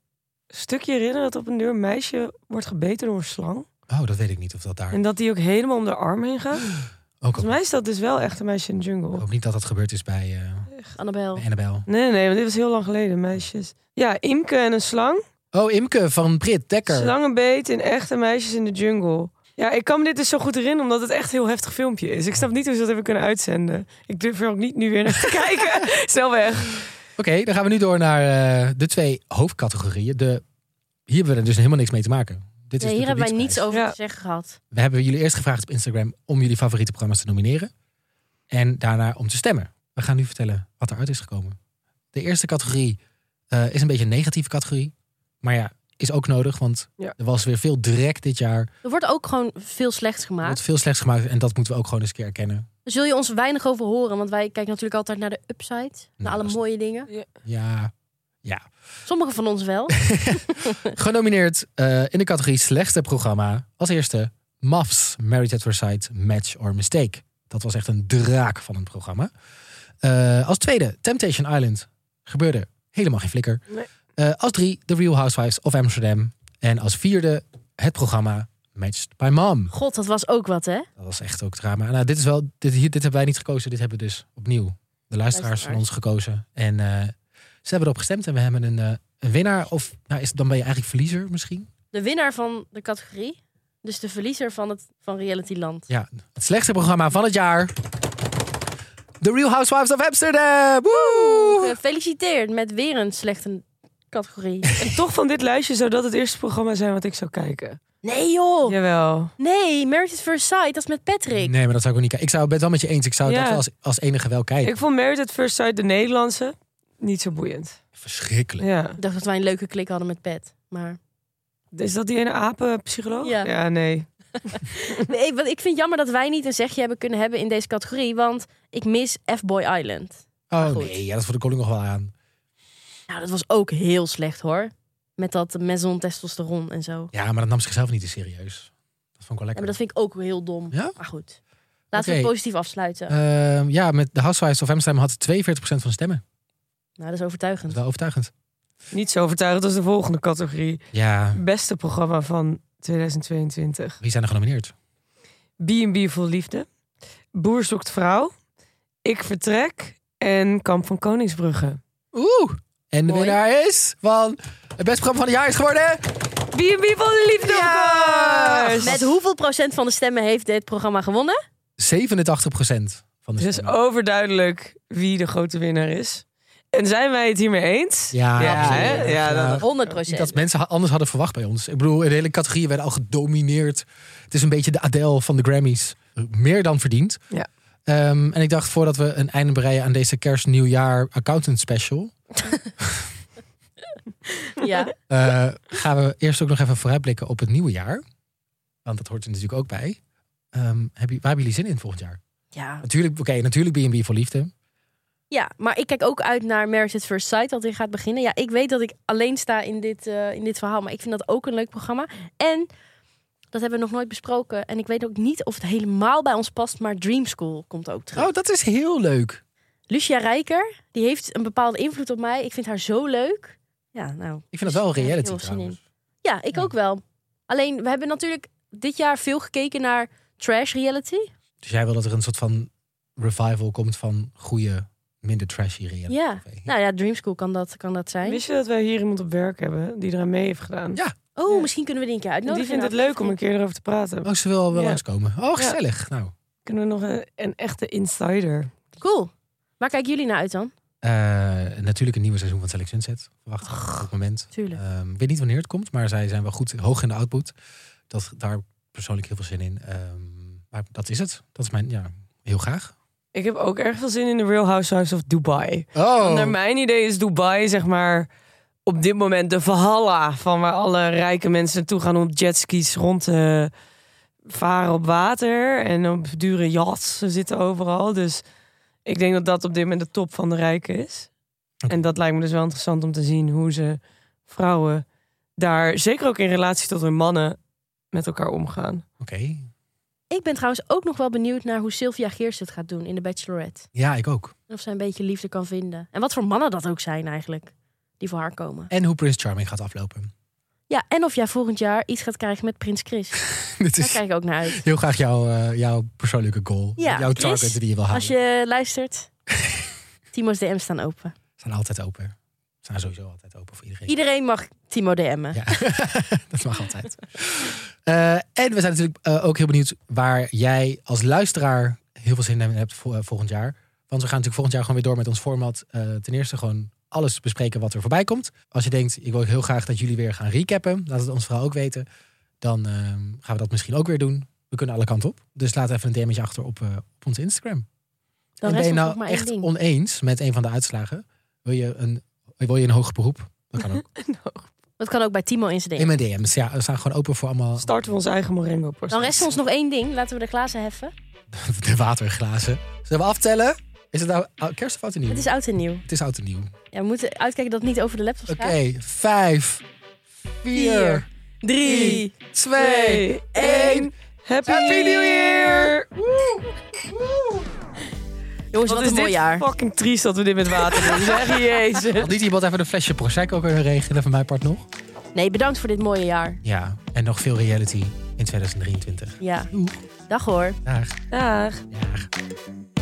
Speaker 3: stukje herinneren dat op een deur een meisje wordt gebeten door een slang
Speaker 1: Oh, dat weet ik niet of dat daar...
Speaker 3: en dat die ook helemaal om de arm heen gaat.
Speaker 1: Ook,
Speaker 3: Volgens mij is dat dus wel echte meisje in de
Speaker 1: ik
Speaker 3: jungle.
Speaker 1: hoop niet dat dat gebeurd is bij, eh
Speaker 2: Annabel.
Speaker 1: bij Annabel.
Speaker 3: Nee, nee, want dit was heel lang geleden, meisjes. Ja, Imke en een slang.
Speaker 1: Oh, Imke van Brit Dekker.
Speaker 3: Slangenbeet in echte meisjes in de jungle. Ja, ik kan me dit dus zo goed herinneren, omdat het echt een heel heftig filmpje is. Ik snap niet hoe ze dat hebben kunnen uitzenden. Ik durf er ook niet nu weer naar te <laughs> kijken. Snel weg.
Speaker 1: Oké, dan gaan we nu door naar eh, de twee hoofdcategorieën. De, hier hebben we er dus helemaal niks mee te maken. Dit is
Speaker 2: Nee,
Speaker 1: de
Speaker 2: hier hebben wij
Speaker 1: publieksprijs.
Speaker 2: niets over
Speaker 3: Ja.
Speaker 2: te zeggen gehad.
Speaker 1: We hebben jullie eerst gevraagd op Instagram om jullie favoriete programma's te nomineren. En daarna om te stemmen. We gaan nu vertellen wat eruit is gekomen. De eerste categorie eh, is een beetje een negatieve categorie. Maar ja, is ook nodig, want
Speaker 3: Ja.
Speaker 1: er was weer veel drek dit jaar. Er
Speaker 2: Er wordt ook gewoon veel slechts
Speaker 1: wordt
Speaker 2: gemaakt.
Speaker 1: veel slechts gemaakt en dat moeten we ook gewoon eens een keer erkennen.
Speaker 2: Daar zul je ons weinig over horen, want wij kijken natuurlijk altijd naar de upside. naar
Speaker 1: Nou, dat
Speaker 2: Nou, alle
Speaker 1: is-
Speaker 2: mooie dingen.
Speaker 1: Ja. ja.
Speaker 2: Sommige van ons
Speaker 1: <laughs>
Speaker 2: wel.
Speaker 1: Genomineerd eh, in de categorie slechtste programma. Als eerste MAFS, Married at First Sight, Match or Mistake. Dat was echt een draak van een programma. Eh, als tweede, Temptation Island. Gebeurde helemaal geen flikker.
Speaker 3: Nee.
Speaker 1: Eh, als drie, The Real Housewives of Amsterdam. En als vierde, het programma Matched by Mom.
Speaker 2: God, dat was ook wat, hè?
Speaker 1: Dat was echt ook drama. Nou, dit is wel, dit, hier, dit hebben wij niet gekozen. Dit hebben dus opnieuw de luisteraars van ons gekozen. En eh, ze hebben erop gestemd en we hebben een, eh, een winnaar. Of nou, is, dan ben je eigenlijk verliezer misschien.
Speaker 2: De winnaar van de categorie. Dus de verliezer van, het, van Reality Land.
Speaker 1: Ja, het slechtste programma van het jaar. The Real Housewives of Amsterdam. Woe!
Speaker 2: Gefeliciteerd met weer een slechte categorie.
Speaker 1: <laughs>
Speaker 3: En toch van dit lijstje zou dat het eerste programma zijn wat ik zou kijken.
Speaker 2: Nee joh!
Speaker 3: Jawel.
Speaker 2: Nee, Marriage at First Sight, dat is met Patrick.
Speaker 1: Nee, maar dat zou ik ook niet kijken. Ik zou het best wel met je eens. Ik zou
Speaker 3: Ja.
Speaker 1: dat wel als, als enige wel kijken.
Speaker 3: Ik vond Married at First Sight, de Nederlandse, niet zo boeiend.
Speaker 1: Verschrikkelijk.
Speaker 3: Ja.
Speaker 2: Ik dacht dat wij een leuke klik hadden met Pat. Maar <laughs>
Speaker 3: Is dat die ene apenpsycholoog?
Speaker 2: Ja.
Speaker 3: ja, nee.
Speaker 2: nee, want ik vind het jammer dat wij niet een zegje hebben kunnen hebben in deze categorie. Want ik mis F-Boy Island.
Speaker 1: Oh
Speaker 2: goed.
Speaker 1: nee, ja, dat vond ik Colin nog wel aan.
Speaker 2: Nou, dat was ook heel slecht hoor. Met dat mezon testosteron en zo.
Speaker 1: Ja, maar dat nam zichzelf niet te serieus. Dat vond ik wel
Speaker 2: Ja,
Speaker 1: lekker.
Speaker 2: maar dat vind ik ook heel dom.
Speaker 1: Ja?
Speaker 2: Maar goed. Laten we
Speaker 1: Oké.
Speaker 2: het positief afsluiten.
Speaker 1: Ehm, ja, met de Housewives of Amsterdam had 42% van de stemmen.
Speaker 2: nou, dat is
Speaker 1: Dat
Speaker 2: overtuigend.
Speaker 1: is wel overtuigend.
Speaker 3: Niet zo overtuigend als de volgende categorie.
Speaker 1: Ja,
Speaker 3: Beste programma van 2022.
Speaker 1: wie zijn er genomineerd?
Speaker 3: B&B vol liefde. Boer zoekt vrouw. Ik vertrek. En Kamp van Koningsbrugge.
Speaker 1: Oeh! En de
Speaker 2: Mooi.
Speaker 1: winnaar is van het beste programma van het jaar is geworden.
Speaker 3: B&B vol liefde, of course!
Speaker 2: Met hoeveel procent van de stemmen heeft dit programma gewonnen?
Speaker 1: 87% van de
Speaker 3: Dus
Speaker 1: stemmen.
Speaker 3: overduidelijk wie de grote winnaar is. En zijn wij het hiermee eens?
Speaker 1: Ja,
Speaker 3: Ja,
Speaker 1: absoluut.
Speaker 3: hè? Ja,
Speaker 1: Ja,
Speaker 3: dat-
Speaker 2: 100
Speaker 1: Niet
Speaker 2: procent.
Speaker 1: Eh, dat mensen ha- anders hadden verwacht bij ons. Ik bedoel, de hele categorieën werden al gedomineerd. Het is een beetje de Adele van de Grammys. Meer dan verdiend.
Speaker 3: Ja.
Speaker 1: Ehm, en ik dacht, voordat we een einde bereiden aan deze kerst-nieuwjaar accountant special...
Speaker 2: Ja.
Speaker 1: eh, gaan we eerst ook nog even vooruitblikken op het nieuwe jaar. Want dat hoort er natuurlijk ook bij. Ehm, heb je, waar hebben jullie zin in volgend jaar?
Speaker 2: ja.
Speaker 1: Natuurlijk, oké, natuurlijk B&B voor liefde.
Speaker 2: Ja, maar ik kijk ook uit naar Marriage at First Sight, dat weer gaat beginnen. Ja, ik weet dat ik alleen sta in dit, eh, in dit verhaal, maar ik vind dat ook een leuk programma. En, dat hebben we nog nooit besproken, en ik weet ook niet of het helemaal bij ons past, maar Dream School komt ook terug.
Speaker 1: Oh, dat is heel leuk.
Speaker 2: Lucia Rijker, die heeft een bepaalde invloed op mij. Ik vind haar zo leuk. Ja, nou.
Speaker 1: Ik vind dat wel
Speaker 2: dus
Speaker 1: een
Speaker 2: daar heb ik
Speaker 1: reality
Speaker 2: heel veel zin
Speaker 1: trouwens.
Speaker 2: in. Ja, ik ook wel. Alleen, we hebben natuurlijk dit jaar veel gekeken naar trash reality.
Speaker 1: Dus jij wil dat er een soort van revival komt van goede, minder trashy reality.
Speaker 2: Ja.
Speaker 1: tv.
Speaker 2: Nou ja, Dream School kan dat, kan dat zijn.
Speaker 3: Wist je dat wij hier iemand op werk hebben die eraan mee heeft gedaan?
Speaker 1: Ja,
Speaker 2: Oh,
Speaker 3: Ja.
Speaker 2: misschien kunnen we die een keer
Speaker 3: En
Speaker 2: uitnodigen.
Speaker 3: die vindt het
Speaker 2: Nou,
Speaker 3: leuk om een keer erover te praten.
Speaker 1: Oh, ze wil wel
Speaker 3: Ja.
Speaker 1: langskomen. Oh, gezellig. Nou,
Speaker 3: Kunnen we nog een, een echte insider?
Speaker 2: Cool. Waar kijken jullie naar uit dan?
Speaker 1: eh, natuurlijk een nieuwe seizoen van Select Sunset. Verwacht ik op het moment.
Speaker 2: Tuurlijk.
Speaker 1: Ehm, ik weet niet wanneer het komt, maar zij zijn wel goed hoog in de output. Dat, daar heb ik persoonlijk heel veel zin in. Ehm, maar dat is het. Dat is mijn, ja, heel graag.
Speaker 3: Ik heb ook erg veel zin in de Real Housewives of Dubai. Want naar
Speaker 1: Oh,
Speaker 3: mijn idee is Dubai, zeg maar, op dit moment de Valhalla van waar alle rijke mensen naartoe gaan om op jetskis rond te varen op water en op dure yachts. Ze zitten overal. Dus ik denk dat dat op dit moment de top van de rijken is. En dat lijkt me dus wel interessant om te zien hoe ze vrouwen daar, zeker ook in relatie tot hun mannen, met elkaar omgaan.
Speaker 1: oké.
Speaker 2: Ik ben trouwens ook nog wel benieuwd naar hoe Sylvia Geers het gaat doen in de Bachelorette.
Speaker 1: Ja, ik ook.
Speaker 2: En Of zij een beetje liefde kan vinden. En wat voor mannen dat ook zijn eigenlijk, die voor haar komen.
Speaker 1: En hoe Prince Charming gaat aflopen. <laughs>
Speaker 2: Ja, en of jij volgend jaar iets gaat krijgen met Prins Chris.
Speaker 1: Dit
Speaker 2: Daar
Speaker 1: is
Speaker 2: kijk ik ook naar uit.
Speaker 1: heel graag jouw, eh, jouw persoonlijke goal.
Speaker 2: Ja,
Speaker 1: jouw
Speaker 2: Chris,
Speaker 1: target die je wil halen.
Speaker 2: Als je
Speaker 1: <laughs>
Speaker 2: luistert, Timo's DM's staan open.
Speaker 1: Zijn altijd open. Zijn sowieso altijd open voor iedereen.
Speaker 2: Iedereen mag Timo DM'en.
Speaker 1: Ja, <laughs> dat mag altijd. Eh, en we zijn natuurlijk eh, ook heel benieuwd waar jij als luisteraar heel veel zin in hebt vo- eh, volgend jaar. Want we gaan natuurlijk volgend jaar gewoon weer door met ons format. Eh, ten eerste gewoon alles bespreken wat er voorbij komt. Als je denkt, ik wil heel graag dat jullie weer gaan recappen. Laat het ons vooral ook weten. Dan ehm, gaan we dat misschien ook weer doen. We kunnen alle kanten op. Dus laat even een DM'tje achter op, eh, op onze Instagram. en ben
Speaker 2: Dan rest
Speaker 1: je
Speaker 2: ons
Speaker 1: nou
Speaker 2: nog maar één
Speaker 1: echt
Speaker 2: ding.
Speaker 1: oneens met een van de uitslagen? Wil je een, wil je een hoger beroep? Dat kan ook.
Speaker 2: Dat kan ook bij Timo in zijn
Speaker 1: In
Speaker 2: DM.
Speaker 1: mijn DM's. Ja, we staan gewoon open voor allemaal <laughs>
Speaker 3: Starten we ons eigen Morengo-proces.
Speaker 2: Dan rest ons nog één ding. Laten we de glazen
Speaker 1: Mm.
Speaker 2: heffen.
Speaker 1: De waterglazen. Zullen we aftellen? Is het nou ou- kerst of oud en nieuw?
Speaker 2: Het is oud en nieuw.
Speaker 1: Het is oud en nieuw.
Speaker 2: Ja, we moeten uitkijken dat het niet over de laptop
Speaker 1: Oké,
Speaker 2: gaat.
Speaker 1: vijf, vier,
Speaker 2: Vier,
Speaker 1: drie, twee,
Speaker 3: twee,
Speaker 1: één.
Speaker 3: één. Happy,
Speaker 1: Happy New
Speaker 3: New Year!
Speaker 2: Jongens, wat,
Speaker 3: is
Speaker 2: een mooi
Speaker 3: dit
Speaker 2: jaar.
Speaker 3: fucking triest dat we dit met water
Speaker 2: <laughs>
Speaker 3: doen. Zeg jezus.
Speaker 1: Had niet iemand even een flesje Prosecco kunnen regelen van mijn part nog?
Speaker 2: Nee, bedankt voor dit mooie jaar.
Speaker 1: Ja, en nog veel reality in 2023.
Speaker 2: Ja. Dag hoor.
Speaker 1: Daar.
Speaker 3: Dag.
Speaker 1: Daar.